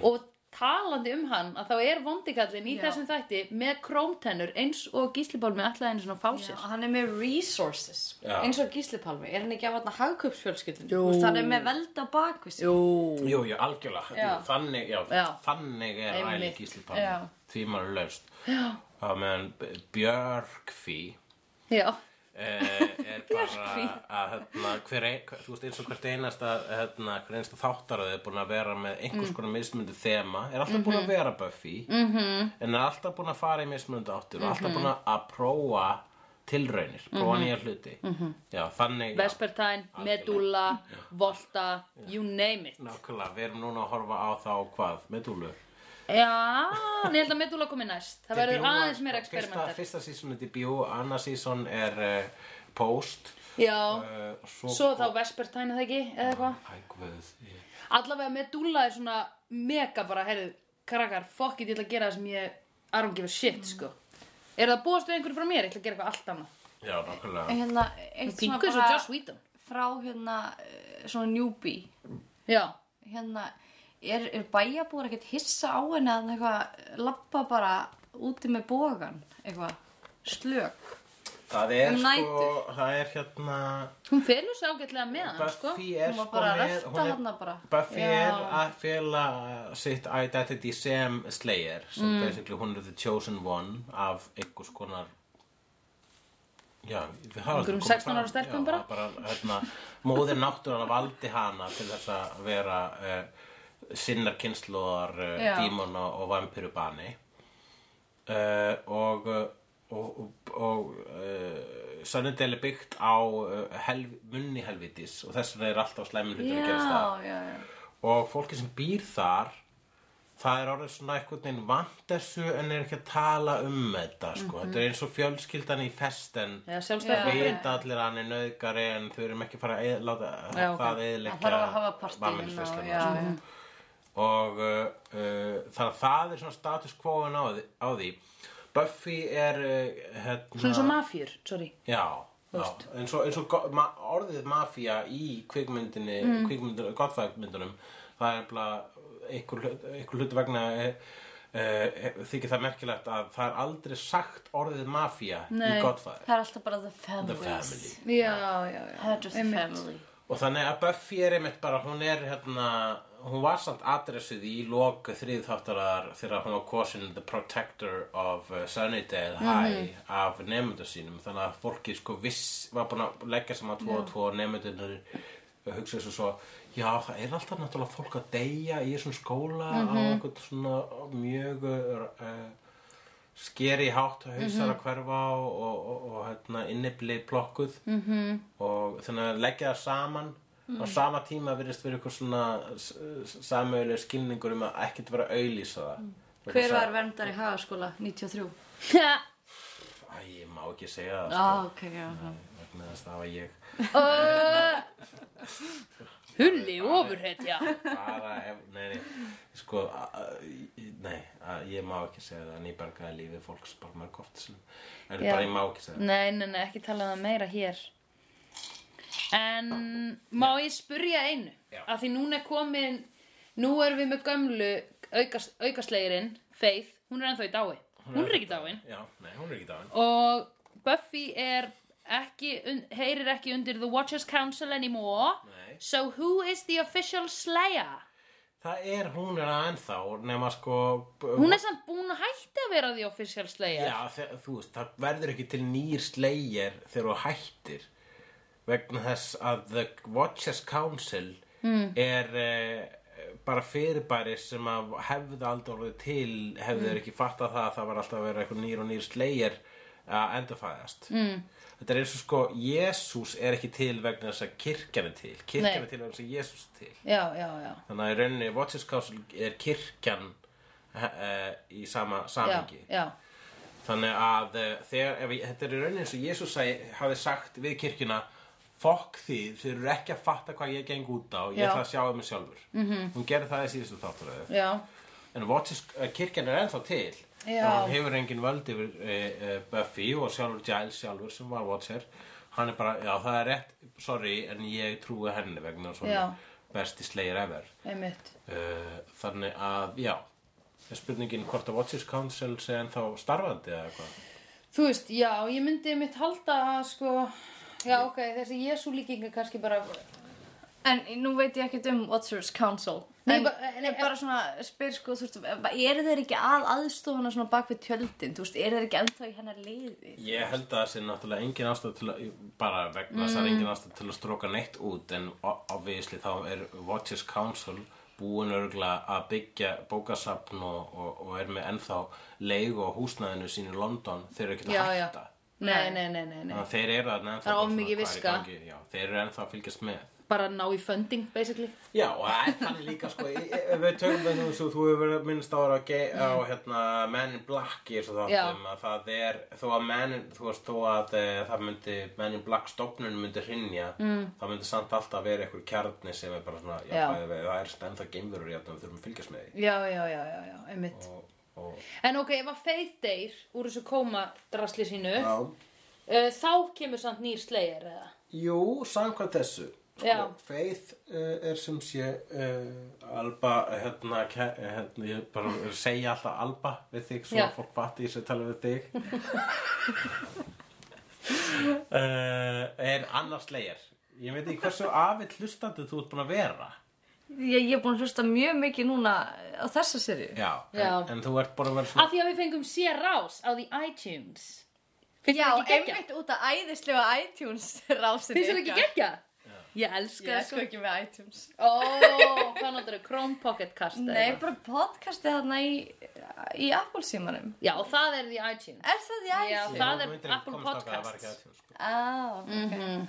Og talandi um hann að þá er vondikallin í
Já.
þessum þætti með krómtennur eins og gíslibólmi alltaf einu svona fá
Já,
sér
hann er með resources.
Já.
Eins og Gísli Palmi. Er hann ekki af hann hagkupsfjölskyldun?
Jú.
Hann er með velda bakvist.
Jú
Jú, jú, algjörlega,
Já.
Jú, þannig, já,
Já.
þannig er
Einmitt.
Ræli Gísli Palmi,
Já.
því maður löst. Já. Það meðan B- Björkfí
Já,
eh, er bara
Björkfí.
að, hérna, hver ein, hver- þú veist, eins og hvert einasta, hérna, hver einasta þáttaröð er búin að vera með
Mm.
einhvers konar mismundu þema, er alltaf
Mhm.
búin að vera Buffy, -hmm. en er alltaf búin að fara í mismundu áttur og
Mhm.
alltaf búin að prófa tilraunir, prófa nýja hluti.
Mhm.
-hmm. Já, þannig, já.
Vespertine, Medulla, Volta, you name it
nákvæmlega, við erum núna að horfa á þá hvað, með dúlu.
Já, en ég held að Medulla komi næst Það verður
Debut-
aðeins meira
fyrsta,
eksperimentar
fyrsta sísón er debut, annað sísón er uh, post
Já,
uh,
svo þá Vespertine er það ekki, eða eitthvað
Ægveð
Allavega Medulla er svona mega bara, heyrðu, krakkar, fuck it, ég ætla að gera það sem ég I don't give a shit, sko. Er það búast við einhverju frá mér? Ég ætla að gera eitthvað allt annað.
Já, nákvæmlega
Hérna, eitt svona
Pingu eins og Joss Whedon.
frá hérna, eh, svona newbie.
Já,
hérna, er, er bæjarbúar ekkert hissa á henni að hann eitthvað lappa bara úti með bógan, eitthvað slök
Það er
Um
sko,
nætur.
það er hérna
Hún felur sér ágætlega með hann, sko.
Buffy er
Hún var
sko
bara að
með
rækta
hún er-
hana bara.
Buffy
Já.
er að fela sitt identity sem Slayer sem
Mm.
basically hún er the chosen one af einhvers konar já, við hafa aldrei
Einhverjum
komið
16
fram.
ára stelpum
Já,
bara.
bara hérna, móðir náttúrulega valdi hana til þess að vera uh, sinnar kynsluðar uh,
Já.
dímona og vampirubani uh, og uh, og, og, og uh, Sunnendale er byggt á uh, helv, munni helvitis og þess vegna er alltaf slæmin hlutur að gerast það
já, já.
og fólki sem býr þar það er orðið svona einhvern veginn vant þessu en er ekki að tala um þetta sko. þetta er eins og fjölskyldan í festen
Já, sjálfstæðisflokkurinn.
vita allir að hann er nöðgari en þau eru ekki að fara að eyð- láta
Já, ok.
það
Það
eðilegja
þarf að hafa partíin og já,
sko.
Mm. já.
og uh, uh, þannig að það er svona status quoðan á, því- á því Buffy er uh, hérna,
Svona svo mafjur, sorry.
Já, já.
veist.
eins og, eins og go- ma orðið mafía í kvikmyndinni, mm. kvikmyndinni, gottfækmyndunum, það er bara einhver, hlut- einhver hluti vegna e, e, e, þykir það merkilegt að það er aldrei sagt orðið mafía í
Nei.
gottfæk.
Það er alltaf bara the families.
The family.
Já, já, já.
Það er just
Einmitt.
family.
Og þannig að Buffy er einmitt bara, hún er hérna, hún var samt adressuð í lok þriðþáttarar þegar hún var kosin The Protector of uh, Sunnydale High af nefndu sínum. Þannig að fólki sko viss, var búin að leggja saman tvo og tvo nefndunir og hugsa þessu svo, já það er alltaf náttúrulega fólk að deyja í þessum skóla á einhvern svona mjög uh, skeri hátt og hausar
Mhm.
að hverfa og, og, og, og hérna, innibli plokkuð -hmm.
Mhm.
og þannig að leggja það saman á sama tíma virðist verið eitthvað svona samöðuleg skilningur um að ekkert vera að auðlýsa það
Mm.
Vegna
Hver
þess að-
var verndar í hagaskóla? 93.
Æ, ég má ekki segja það
Á,
sko,
Ah, ok, já. já.
vegna þess að það var ég
Ö, Hulli ofurhetja.
bara ef, nei, nei, sko a- a- í- nei, a- ég má ekki segja það en ég bergaði lífið fólks bara mörg oft sem, en
Já.
bara ég má ekki segja það
Nei, nei, nei, ekki tala um það meira hér En má ég spurja einu
Já.
að því núna er komin nú erum við með gömlu aukas, aukaslegirinn, Faith hún er ennþá í dái, hún er ekki dáin
já, nei, hún er ekki dáin
og Buffy er ekki, un, heyrir ekki undir The Watchers Council anymore
Nei.
so who is the official slayer?
það er, hún er að ennþá nema sko b-
Hún er samt búin að hætta að vera the official slayer
Já, þe- þú veist, það verður ekki til nýr slegir þegar þú hættir vegna þess að The Watchers Council
Hmm.
er eh, bara fyrirbæri sem að hefði aldrei orðið til hefði
Hmm.
þeir ekki fattað það að það var alltaf að vera eitthvað nýr og nýr slegir að endurfæðast
Hmm.
mm. Þetta er eins og sko, Jésús er ekki til vegna þess að kirkjan er til kirkjan
Nei.
er til vegna þess að Jésús er til
já, já, já.
Þannig að í rauninni Watchers Council er kirkjan uh, í sama
Já,
samhengi
já,
Þannig að eh, þegar, ef, ég- þetta er í rauninni eins og Jésús hafi sagt við kirkjuna Fokk þið, þið eru ekki að fatta hvað ég geng út á, ég
Já. Mhm.
ætla að sjá um mig sjálfur -hmm. Hún gerði það í síðustu þátturöðu
já.
En Watches, eh, kirkjan er ennþá til
Já.
En Hún hefur engin völd yfir e, e, Buffy og sjálfur Giles sjálfur sem var Watcher Hann er bara, já það er rétt, sorry, en ég trúi henni vegna svona
Já.
besti slegir ever
einmitt
uh, Þannig að, já, er spurningin hvort að Watchers Council sé ennþá starfandi eða eitthvað
Þú veist, já, ég myndi mitt halda að sko, já ok, þessi Jésu líking er kannski bara
En nú veit ég ekkert um Watchers Council.
Nei,
en,
ba- eh,
en
nei,
ég bara svona spyr sko, þú veist, eru þeir ekki að aðstofuna svona bak við tjöldin, þú veist, eru þeir ekki ennþá í hennar leiði?
Ég held að það sé náttúrulega engin ástæð til að, bara vegna þess að það
Mm.
er engin ástæð til að stróka neitt út en o- obviously þá er Watchers Council búin örgla að byggja bókasafn og, og, og er með ennþá leigu og húsnæðinu sín í London þeir eru ekki
Já,
að
já,
hætta
nei, nei, nei, nei, nei.
Þannig að þeir eru ennþá
Það er of
bara svona
mikið
hvað í
viska.
gangi. Já, þeir eru ennþá að fylgjast með
bara ná í funding, basically
Já, og það er þannig líka sko e- e- ef við tökum með þú, þú hefur verið að minnst á, á, ge- á
Mm.
hérna, Men in Black í þessu þáttum að það er þó að Men in, þú veist, þó að e, það myndi Men in Black stofnun myndi hrinja mm. það myndi samt alltaf vera einhver kjarni sem er bara svona, já,
Já.
bæði við, það er ennþá geimverur í þetta, við þurfum að fylgjast með því
Já, já, já, já, já, einmitt
og, og,
En ok, ef að Faith deyr úr þessu kómadrasli sínu uh, þá kemur samt nýr slegir eða
Jú, samkvæmt þessu Sko,
Já.
Faith uh, er sem sé uh, Alba hérna, ke- hérna, ég bara segja alltaf Alba við þig, svo
Já.
fólk vatti í þessu tala við þig uh, er annars leir ég veit ekki hversu afill hlustandi þú ert búin að vera
Ég, ég er búin að hlusta mjög mikið núna á þessa serju.
já,
Já.
En, en þú ert búin að vera svona
Af því að við fengum sér rás á því iTunes. Finnst
Já,
þér ekki geggja?
einmitt út af æðislega iTunes rásinu.
Finnst þér ekki geggja? Ég
Ég
elska það
er sko
sko.
ekki með iTunes.
Ó, hvað notur þau? Chrome Pocket Cast? eða
Nei,
eitthvað?
bara podcastið þarna í, í Apple símanum.
Já, það er því iTunes.
Er það í
Já.
iTunes?
það
Þú
er
myndir ekki
Apple
komast þangað, það var ekki
Podcasts.
iTunes, sko.
Á, ok. Mm -hmm.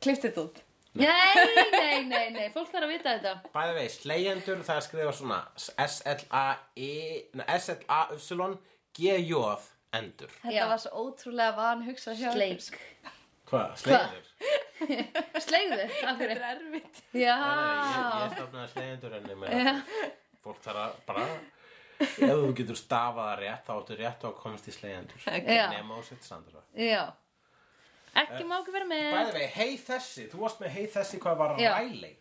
Kliftið út.
Nei, nei, nei, nei, fólk þarf að vita þetta.
Bæði vei, slegjendur, það skrifa svona S-L-A-E, nei, S-L-A-Y-G-J endur.
Þetta
Já.
var svo ótrúlega van hugsað hjá. ykkur.
Sleik.
Hvað? Slegjendur?
Sleigðu, af
Þetta
hverju?
er erfitt.
Já.
Ég, ég stofnaði slegjendur en ég meina fólk þarf að bara, ef þú getur stafað það rétt, þá ertu rétt á að komast í slegjendur.
Já. Eh.
Nefn á sitt sandra.
Já. Ekki má ekki vera með.
Eh, Bæði vei, hei þessi, þú varst með hei þessi hvað var
Já.
ræli.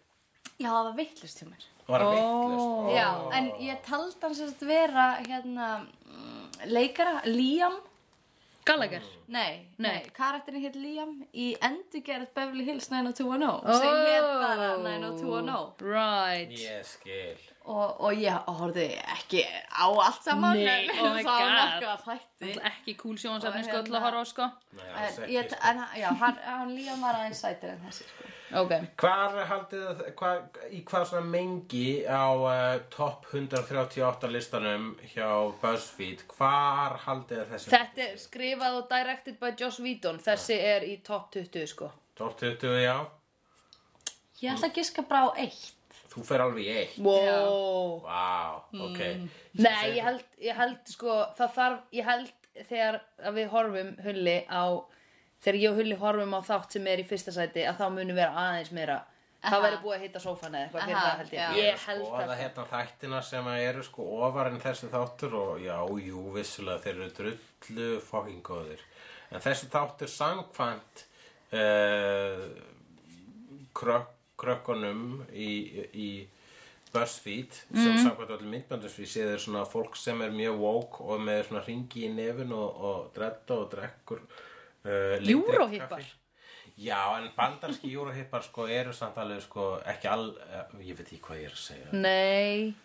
Já, það var vittlust hjá mér.
Það var
Ó.
vittlust. Ó.
Já, en ég taldi hans að vera hérna mm, leikara, Liam.
Gallagher.
Nei,
Nei.
nei, karakterin hétt Liam í endurgerð Beverly Hills 90210
Ó.
sem hétt bara 90210
Right.
Ég skil.
og, og ég horfði ekki á allt saman
Nei,
en
oh my
sá
God.
nokkað þætti
Mm.
Ekki cool sjónsafni
Og
sko til
hérna-
að horfa á sko.
Nei, alls
en,
ekki,
ég,
sko.
en já, hann, hann Liam var aðeins sætir en þessi sko.
Ok.
Hvar haldið þið, hvar, í hvað svona mengi á uh, top 138 listanum hjá BuzzFeed, hvar haldið þið þessi?
Þetta er skrifað og directed by Joss Whedon. Þessi
Ah.
er í top 20 sko.
Top 20, já.
ég ætla að giska bara á eitt
Þú fer alveg í eitt.
Wow.
Vá, ok.
Mm. Nei, ég held, ég held sko, það þarf, ég held þegar að við horfum hulli á, þegar ég og hulli horfum á þátt sem er í fyrsta sæti að þá muni vera aðeins meira.
Aha.
Það verður búið að hitta sófan eða eitthvað fyrir
Aha,
það held ég.
já.
Ég held
það.
það.
hérna þættina sem eru sko ofar en þessi þáttur og já, jú, vissulega þeir eru drullu fucking góðir. En þessi þáttur samkvæmt uh, krök, krökkunum í, í BuzzFeed sem
Mhm.
samkvæmt allir myndbandusfið séð er svona fólk sem er mjög woke og með svona ringi í nefin og, og dredda og drekkur uh,
Eurohippar?
litríkt kaffi. Já, en bandarski júrahippar sko eru samt alveg sko ekki all, uh, ég veit ekki hvað ég er að segja.
Nei,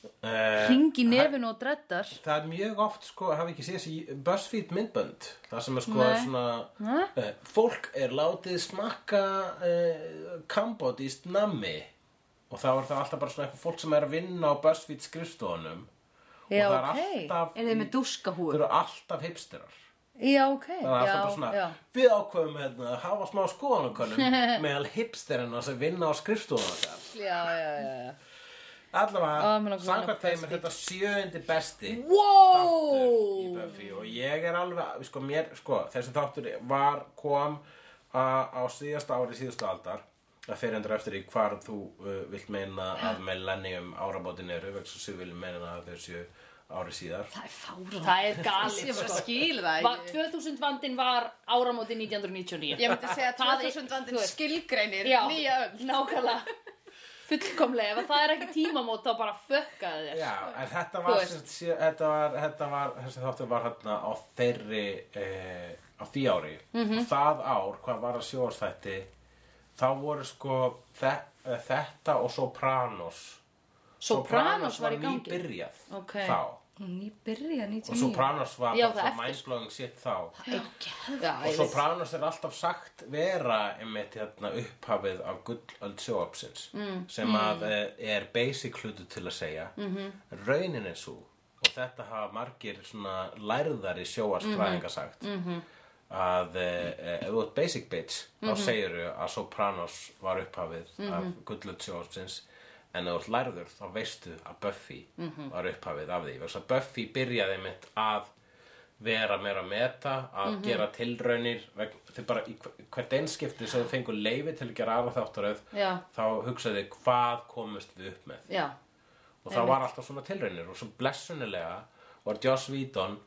Uh,
ringi nefin og dreddar.
það er mjög oft sko, hafi ekki séð þessi BuzzFeed myndbönd, það sem er sko er svona, uh, fólk er látið smakka uh, kambodist nammi og þá er það alltaf bara svona eitthvað fólk sem er að vinna á BuzzFeed skrifstofunum
Já,
og það er
ok.
alltaf,
er þið með
þau
dúskahúr
eru alltaf hipsterar.
Já, ok.
Það er
já,
alltaf bara svona,
já.
við ákveðum hérna, að hafa smá skoðanakönnum meðal hipsterina sem vinna á skrifstofunum okkar.
Já, já, já, já. Ó, mér
Allavega,
langar að
samkvæmt
vinna á
þeim er þetta sjöundi besti þáttur í
Wow!
Buffy og ég er alveg, sko, mér, sko, þessi þáttur var, kom a, á síðasta ári síðustu aldar það fyrir endur eftir í hvar þú uh, vilt meina að millennium árabótin eru vegna sem þú vil meina að þau séu ári síðar
það er fárað
Það er galið,
ég bara
sko.
skil það
Va-
ekki
2000 vandinn var áramóti 1999.
ég myndi segja
Það er-
2000
þú
vandinn
veist.
skilgreinir
Já,
nýja öll
nákvæmlega Fullkomlega, ef að það er ekki tímamót þá bara fökkaði þér
Já, en þetta
Sko, Þú
var,
veist.
sem, sé, þetta var, þetta var þessi þáttur var hérna á þeirri eh, á því ári
Mhm.
og það ár, hvað var að sjóðastætti þá voru sko þe eh, þetta og Sopranos
Sopranos var í gangi
nýbyrjað
Ok. Mm.
þá
ný byrja
og
99
Sopranos var
Já, það
bara
eftir.
svo mindblowing shit þá
Já,
og
ég veist.
Sopranos er alltaf sagt vera einmitt hérna upphafið af gullöld sjóapsins mm. sem að mm. er basic hlutu til að segja mm -hmm. raunin er svo og þetta hafa margir svona lærðari sjóastfræðinga sagt -hmm. að e, e, ef þú ert basic bitch þá segirðu að Sopranos var upphafið af gullöld sjóapsins en ef þú ert lærður þá veistu að Buffy var upphafið af því Vegna þess að Buffy byrjaði einmitt að vera meira að meta, að
Mhm.
gera tilraunir veg- þau bara í hver- hvert einskipti sem þau fengur leifi til að gera aðra þáttaröð
Já.
þá hugsaði þau hvað komust við upp með
Já,
og það var alltaf svona tilraunir og svo blessunilega var Joss Whedon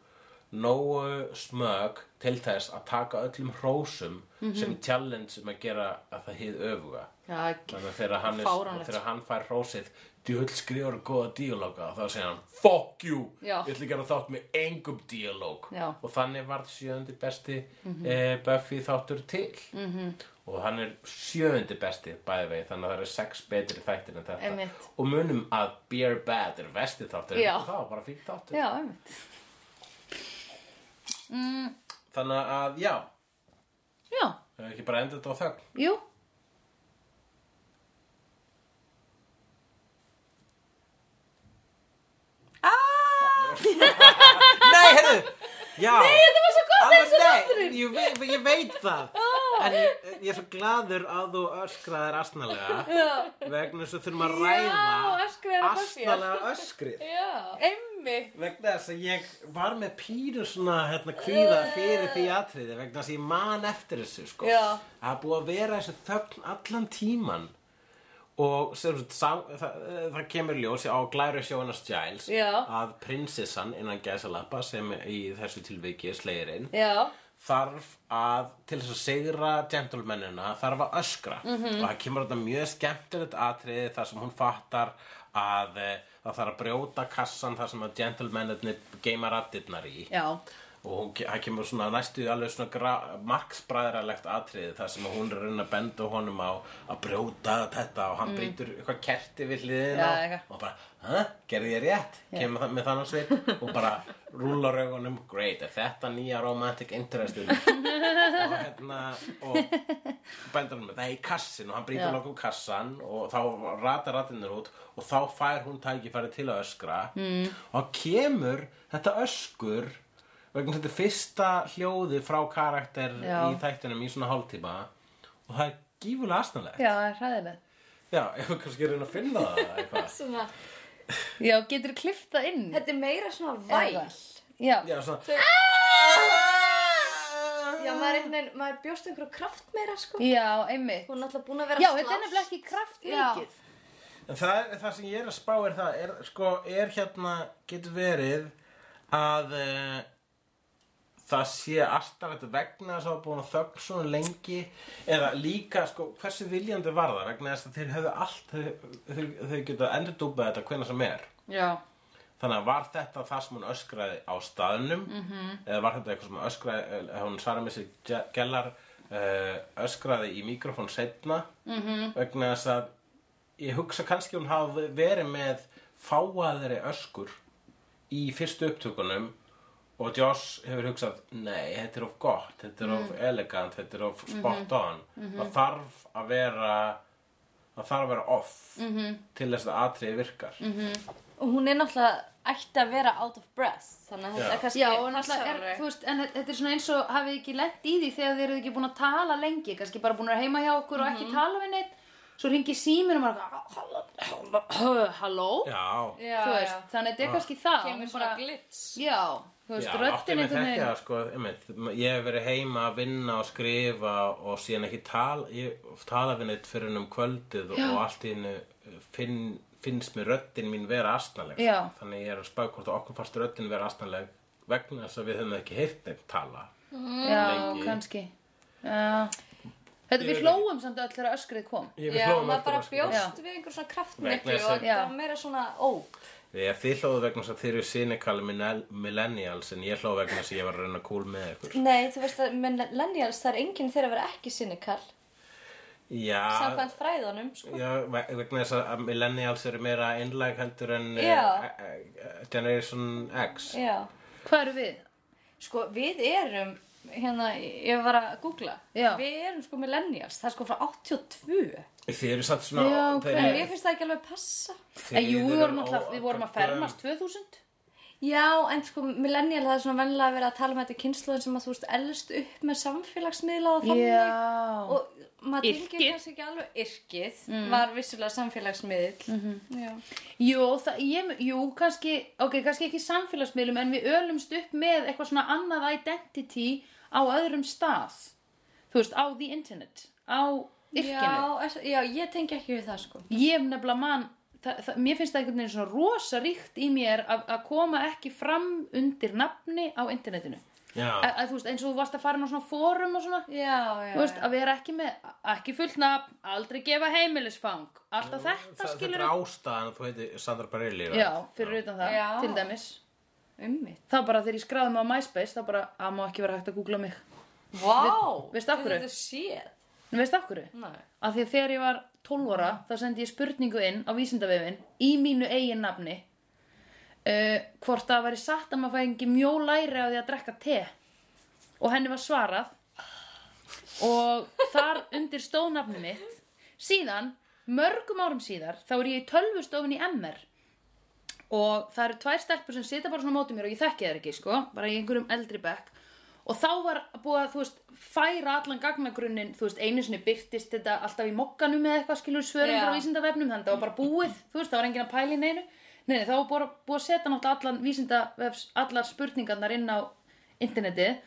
nógu smög til þess að taka öllum hrósum sem challenge um að gera að það hið
Mhm.
öfuga
já, ekki
þannig að þegar hann, er,
Fáránlegt.
þegar hann fær hrósið djöld skrifar góða díalóga og þá segir hann fuck you,
Já.
ég ætla að gera þátt með engum díalóg
Já.
og þannig varð sjöundi besti eh, Buffy þáttur til -hmm. og hann er sjöundi besti bæði vegi þannig að það eru sex betri þættir en þetta
Einmitt.
og munum að Beer Bad er vesti þáttur
Já.
og það var bara fínt þáttur
Já, einmitt.
þannig að já,
Já,
hefur ekki bara endað þetta á þögn
jú.
Nei, heyrðu Já. Nei, þetta var svo gott eins og
þátturinn.
ég, ve- ég veit það En ég, ég er svo gladur að þú öskraðir asnalega
Já,
Vegna þess að þurfum að ræða
öskraðir að Buffy.
Asnalega öskrið
já. Einmitt.
Vegna þess að ég var með pínu svona hérna kvíða fyrir því atriði Vegna þess að ég man eftir þessu sko
Já.
Það er búið að vera þessi þögn allan tíman Og sem, sagt, sá, það, það kemur ljós á glæru sjónas Giles
Já.
að prinsessan innan gæsalappa sem í þessu tilviki er slegirinn
Já,
þarf að, til þess að sigra gentlemanina, þarf að öskra -hmm. og það kemur þetta mjög skemmtilegt atriði þar sem hún fattar að eh, það þarf að brjóta kassan þar sem að gentlemaninni geima rattirnar í
já.
og hún, ke- það kemur svona næstu alveg svona gra- marksbræðralegt atriði þar sem hún er að reyna að benda honum á að brjóta þetta og hann mm. brýtur eitthvað kerti við hliðina
Já, eitthvað.
og bara, hæ, gerði ég rétt kemur það með þannig svip og bara rúlar augunum, great, er þetta nýja romantic interestið og hérna og bændur hann með það í kassin og hann
Já.
brýtur lokum kassan og þá rata ratinnur út og þá fær hún tækifæri til að öskra mm. og kemur þetta öskur vegna þetta er fyrsta hljóði frá karakter
Já.
í þættinum í svona hálftíma og það er gífulega astanlega
Já, það er hræðilegt.
já, ef við kannski reyna að finna það eða eitthvað
Svona,
Já, getur kliftað inn.
þetta er meira svona væl.
Já,
já, svona "Ah!"
Já, maður, einhvern veginn, maður bjóst einhverju kraft meira, sko.
já, einmitt.
Hún er alltaf búin að vera
Já,
að
þetta er nefnilega ekki kraftmikið.
En það, er- það sem ég er að spá er það, er, sko, er hérna, getur verið að e, það sé aftalegt vegna þess að hafa búin að þögn svona lengi eða líka, sko, hversu viljandi var það vegna þess að þeir höfðu allt, þau, þau, þau geta endur dúpað þetta hvena sem er.
Já,
Þannig að var þetta það sem hún öskraði á staðnum -hmm. eða var þetta eitthvað sem hún öskraði, eh, hún svarar með sér gellar uh, öskraði í mikrofón setna -hmm. vegna þess að ég hugsa kannski hún hafi verið með fáaðri öskur í fyrstu upptökunum og Josh hefur hugsað nei, þetta er of gott, þetta er of elegant þetta er of spot on það þarf að vera það þarf að vera off -hmm. til þess að atriði virkar mm -hmm.
Og hún er náttúrulega ætti að vera out of breath. Þannig að þetta
Já.
kannski
já og náttúrulega,
passar
er,
alveg.
þú veist, en þetta er svona eins og hafið þið ekki lent í því þegar þið eruð ekki búin að tala lengi, kannski bara búin að vera heima hjá okkur og
Mhm.
ekki tala við neitt, svo ringi síminn og maður eitthvað, "Halló, halló, halló, halló,
Já,
Já,
þú veist, þannig að þetta er kannski það,
Kemur
hún
svona
bara-
glits.
já, þú veist,
Já, átti
röddin
með
einhvern
þetta,
veginn,
sko, einmitt, ég hef verið heima að vinna og skrifa og síðan ekki tala, ég, tala við neitt fyrir um kvöldið og allt í hennu finn, finnst mér röddin mín vera astnaleg. sko.
Já.
Þannig ég er að spá hvort að okkur fast röddin vera astnaleg vegna þess að við höfum ekki heyrt neitt tala.
já,
lengi.
kannski, já, þetta við
Ég veit
hlóum samt öll þegar öskrið kom,
Ég
Já,
hlóðum
maður
eftir
bara
að skrifa.
bjóst við einhver svona kraftmiklu
Vegna þess
og
að-
þetta
Já.
var meira svona óp.
Ég þið hlóðu vegna þess að þið eru sinikali millennials en ég hlóðu vegna þess að ég var að reyna cool með ykkur.
Nei, þú veist að millennials, það er enginn þeirra að vera ekki sinikal,
Já,
samkvæmt fræðunum, sko.
Já, ve- vegna þess að millennials eru meira einlæg heldur en
Já.
eh, eh, eh, Generation X
Já.
hvað eru við?
Sko, við erum, hérna, ég var að googla,
Já.
við erum sko millennials, það er sko frá 82.
Þið eru satt svona
Já, ok.
En
þeir,
mér finnst það ekki alveg passa.
þeir
Eh, Jú, við vorum,
eru
alltaf, við vorum að fermast 2000,
Já, en sko, millennial, það er svona vennilega að vera að tala með þetta kynnslóðin sem að þú veist elst upp með samfélagsmiðla og þannig.
já,
Og maður
Yrkið.
tengir kannski ekki alveg yrkið, var vissulega samfélagsmiðl. Mm -hmm.
Jú, það, ég, jú, kannski, ok, kannski ekki í samfélagsmiðlum en við ölumst upp með eitthvað svona annað identity á öðrum stað. Þú veist, á the internet, á yrkinu.
Já, er, já, ég tengi ekki við það sko.
Ég hef nefnilega mann, það, það, mér finnst það einhvern veginn svona rosa ríkt í mér að, að koma ekki fram undir nafni á internetinu.
Já.
að, að, þú veist, eins og þú varst að fara inn á svona fórum og svona
já, já,
Þú veist,
já.
að vera ekki með, ekki fullt nafn, aldrei gefa heimilisfang, alltaf þetta
Það-
skilur
Þetta er ástæðan að þú heiti Sandra Bareilly right?
Já, fyrir utan það,
Já.
til dæmis.
Ummitt.
Þá bara þegar ég skráði mig á MySpace, þá bara, að má ekki vera hægt að googla mig.
Vá!
Veistu af hverju?
Þetta er shit.
En veistu af hverju?
Nei.
Af því að þegar ég var 12 ára, þá sendi ég spurningu inn á vísindavefin í mínu eigin nafni. Uh, hvort það væri satt að maður fæði mjó læri á því að drekka te og henni var svarað og þar undir stóðnafni mitt síðan, mörgum árum síðar þá er ég í tölvustofin í MR og það eru tvær stelpur sem sita bara svona á móti mér og ég þekki þær ekki sko, bara í einhverjum eldri bekk og þá var búið að, þú veist, færa allan gagnagrunnin, þú veist, einu sinni byrtist þetta alltaf í mokkanum eða eitthvað skilur svörum
Já.
frá vísindavefnum, þannig það var bara búið þú veist, það var enginn að pæla í neinu Nei, nei, þá var bara búið að setja náttúrulega allan vísindavefs, allar spurningarnar inn á internetið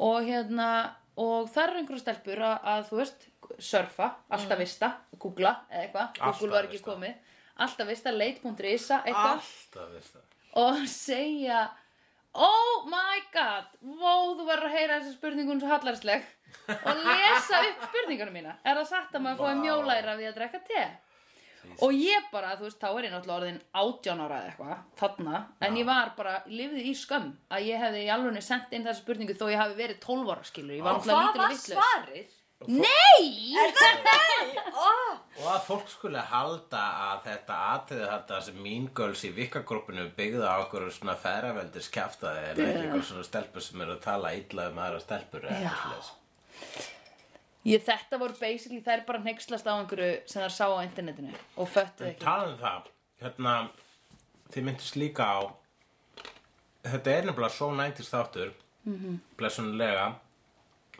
og hérna, og þar eru einhverjum stelpur að, að, þú veist, surfa alltaf vista, googla eða eitthvað,
Alltaf
Google var ekki
vista.
komið alltaf vista, leit.isa, eitthvað
Alltaf veist það
og segja Oh my god, vó, þú verður að heyra þessa spurningun svo hallarsleg og lesa upp spurningunum mína. Er það satt að maður fóði
Vá.
mjólæra við að drekka te? Og ég bara, þú veist, þá er ég náttúrulega orðin átján ára eða eitthvað, þarna, en ég var bara, lifði í skömm að ég hefði í alveg sendt inn þessa spurningu þó ég hafi verið 12 ára skilur, ég var náttúrulega
Hvað
lítil
var
og vitlaus.
svarið?
Nei!
Oh,
Og að fólk skulle halda að þetta atriði þetta sem Mean Girls í vikkagrúppinu byggða á okkur svona ferraveldis kjaftaði en ekki eitthvað svona stelpur sem eru að tala illa um aðra stelpur eða
Já.
eitthvað svoleiðis.
Ég, þetta voru basically, þær bara hneykslast á einhverju sem þær sá á internetinu og föttu
En
ekki.
talað um það, hérna, þið myndist líka á, þetta er nefnilega svo 90s þáttur, mm
Mhm.
-hmm. blessunlega,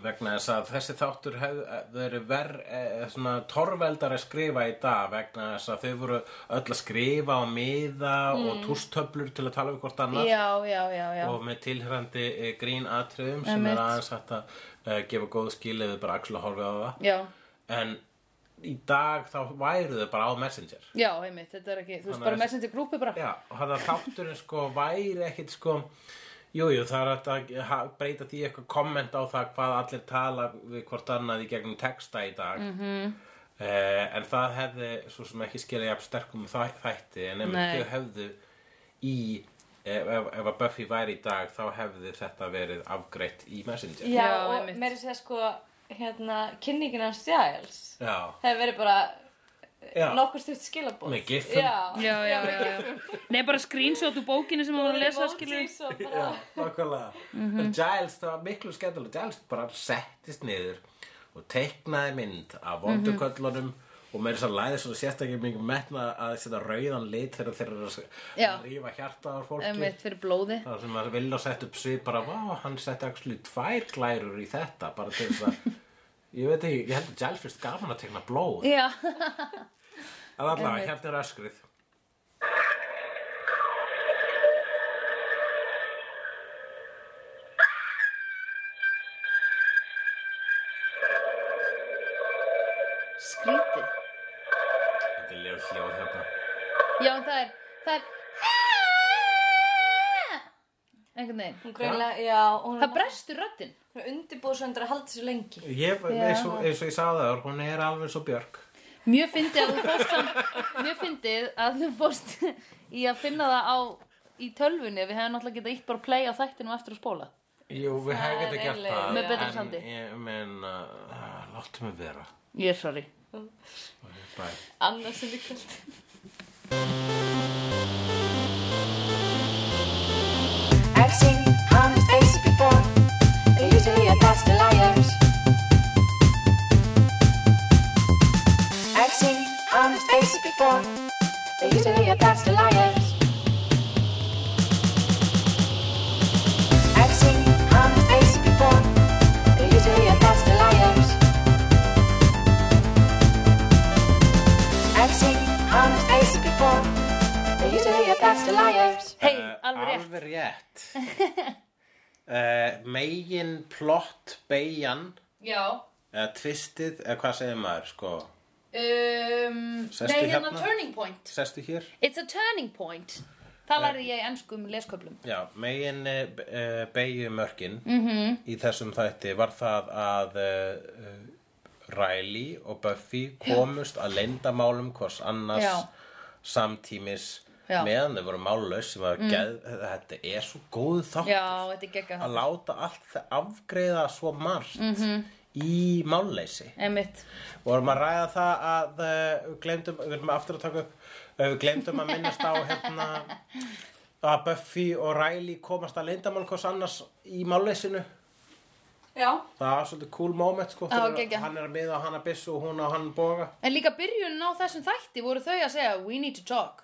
vegna þess að þessi þáttur hefur verið eh, svona torveldar að skrifa í dag vegna þess að þau voru öll að skrifa og miða og tústöflur til að tala við hvort annað
Já, já, já, Mm. já.
og með tilhærandi eh, grín atriðum sem
Einmitt.
er aðeins hægt að eh, gefa góð skil eða bara axla horfið á það.
Já.
En í dag þá væru þau bara á Messenger.
Já, einmitt, þetta er ekki, þú veist,
Þannig
bara
að-
messenger grúpi bara.
Já, og þannig að þátturinn sko væri ekkit sko Jújú, jú, það er hægt að ha- breyta því eitthvað komment á það hvað allir tala við hvort annað í gegnum texta í dag -hmm.
Mhm.
En það hefði svo sem ekki skilja jafn sterkum þæ- þætti En ef
Nei.
þau hefðu í Ef, ef, ef að Buffy væri í dag þá hefði þetta verið afgreitt í Messenger
já,
Já,
og
einmitt.
mér er að segja sko, hérna, kynningin hans Giles.
Já,
Það hefur verið bara
já.
nokkur stutt skilabóð.
Með gifum.
Já,
Já, já, já, já. Nei, bara screenshot úr bókinni sem hann var að lesa, skilur.
Svo bara,
Já, nákvæmlega.
Mhm.
En Giles, það var miklu skemmtilega. Giles bara settist niður og teiknaði mynd
Mhm.
af vonduköllunum og meira þess að læði svona sérstaklega mikið metna að setja rauðan lit þegar þeir eru að
Já.
s- rífa hjarta á fólki.
Einmitt, fyrir blóði.
Það sem að vilja setja upp svið bara, vá, hann setja actually tvær glærur í þetta bara til þess að, ég veit ekki, ég held að Giles fyrst gaman að tekna blóð.
Já,
En allavega, hérna er öskrið.
skrítið.
Þetta er ljóð hljóð hérna.
Já, en það er, það er, einhvern veginn.
hún greinlega, já, hún
Það brestur röddinn.
hún er undirbúð svo hendur að halda sér lengi.
Ég, eins og, eins og ég sagði það, hún er alveg svo björk.
Mjög fyndið að þú fórst hann, mjög fyndið að þú fórst í að finna það á, í tölvunni. Við hefum náttúrulega getað ítt bara að playa þættinum eftir að spóla.
Jú, við hefum
er
getað gert
eiginlega-
það
Með betra sandi.
En ég meina, uh, láttu mig vera
Ég er sorry.
Bæ
Annars er við kvöld.
I've seen honest faces before. They're usually a pass to liars. I've seen honest faces before. They're usually a pass to liars. I've seen honest faces before. They're usually a pass to liars. I've seen honest faces before. They're usually a pass to liars.
Hei, alveg rétt.
Eh, Alveg rétt uh, Megin plott beigjan
Já.
eða tvistið, eða hvað segir maður sko,
Um,
Sestu
nei, hérna
hérna.
turning point.
sestu hér
It's a turning point.
Eh.
Það lærði ég ennsku um lesköplum.
Já, megin uh, beigju mörkin
Mhm.
-hmm. í þessum þætti var það að uh, Riley og Buffy komust að leyndamálum hvors annars
Já.
samtímis
Já. Mm.
meðan þau voru mállaus sem að geð, þetta er svo góð þátt
Já, þetta er gegga
að
það.
láta allt það afgreiða svo margt
Mhm.
-hmm. í málleysi
Emitt.
vorum að ræða það að uh, við glemdum, við erum aftur að taka upp uh, við glemdum að minnast á hérna að Buffy og Riley komast að leyndamál hvers annars í máleysinu
Já.
það var svolítið cool moment sko
Já,
þegar
geggjað.
hann er að miða á hana byssu og hún á hann boga
En líka byrjun á þessum þætti voru þau að segja we need to talk.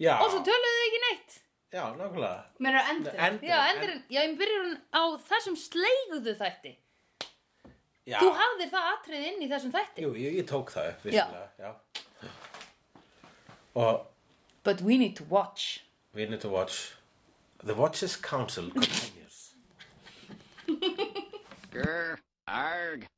já,
Og svo töluðu þau ekki neitt.
já, nákvæmlega
Mér er endur.
Endirinn,
Já, endurinn, já, ég byrjur hún á þessum sleiguðu þætti.
já,
Þú hafðir það atrið inn í þessum þætti.
jú, ég, ég tók það upp vissulega, já. og
But we need to watch.
we need to watch The Watch's Council continues
Grr, arg.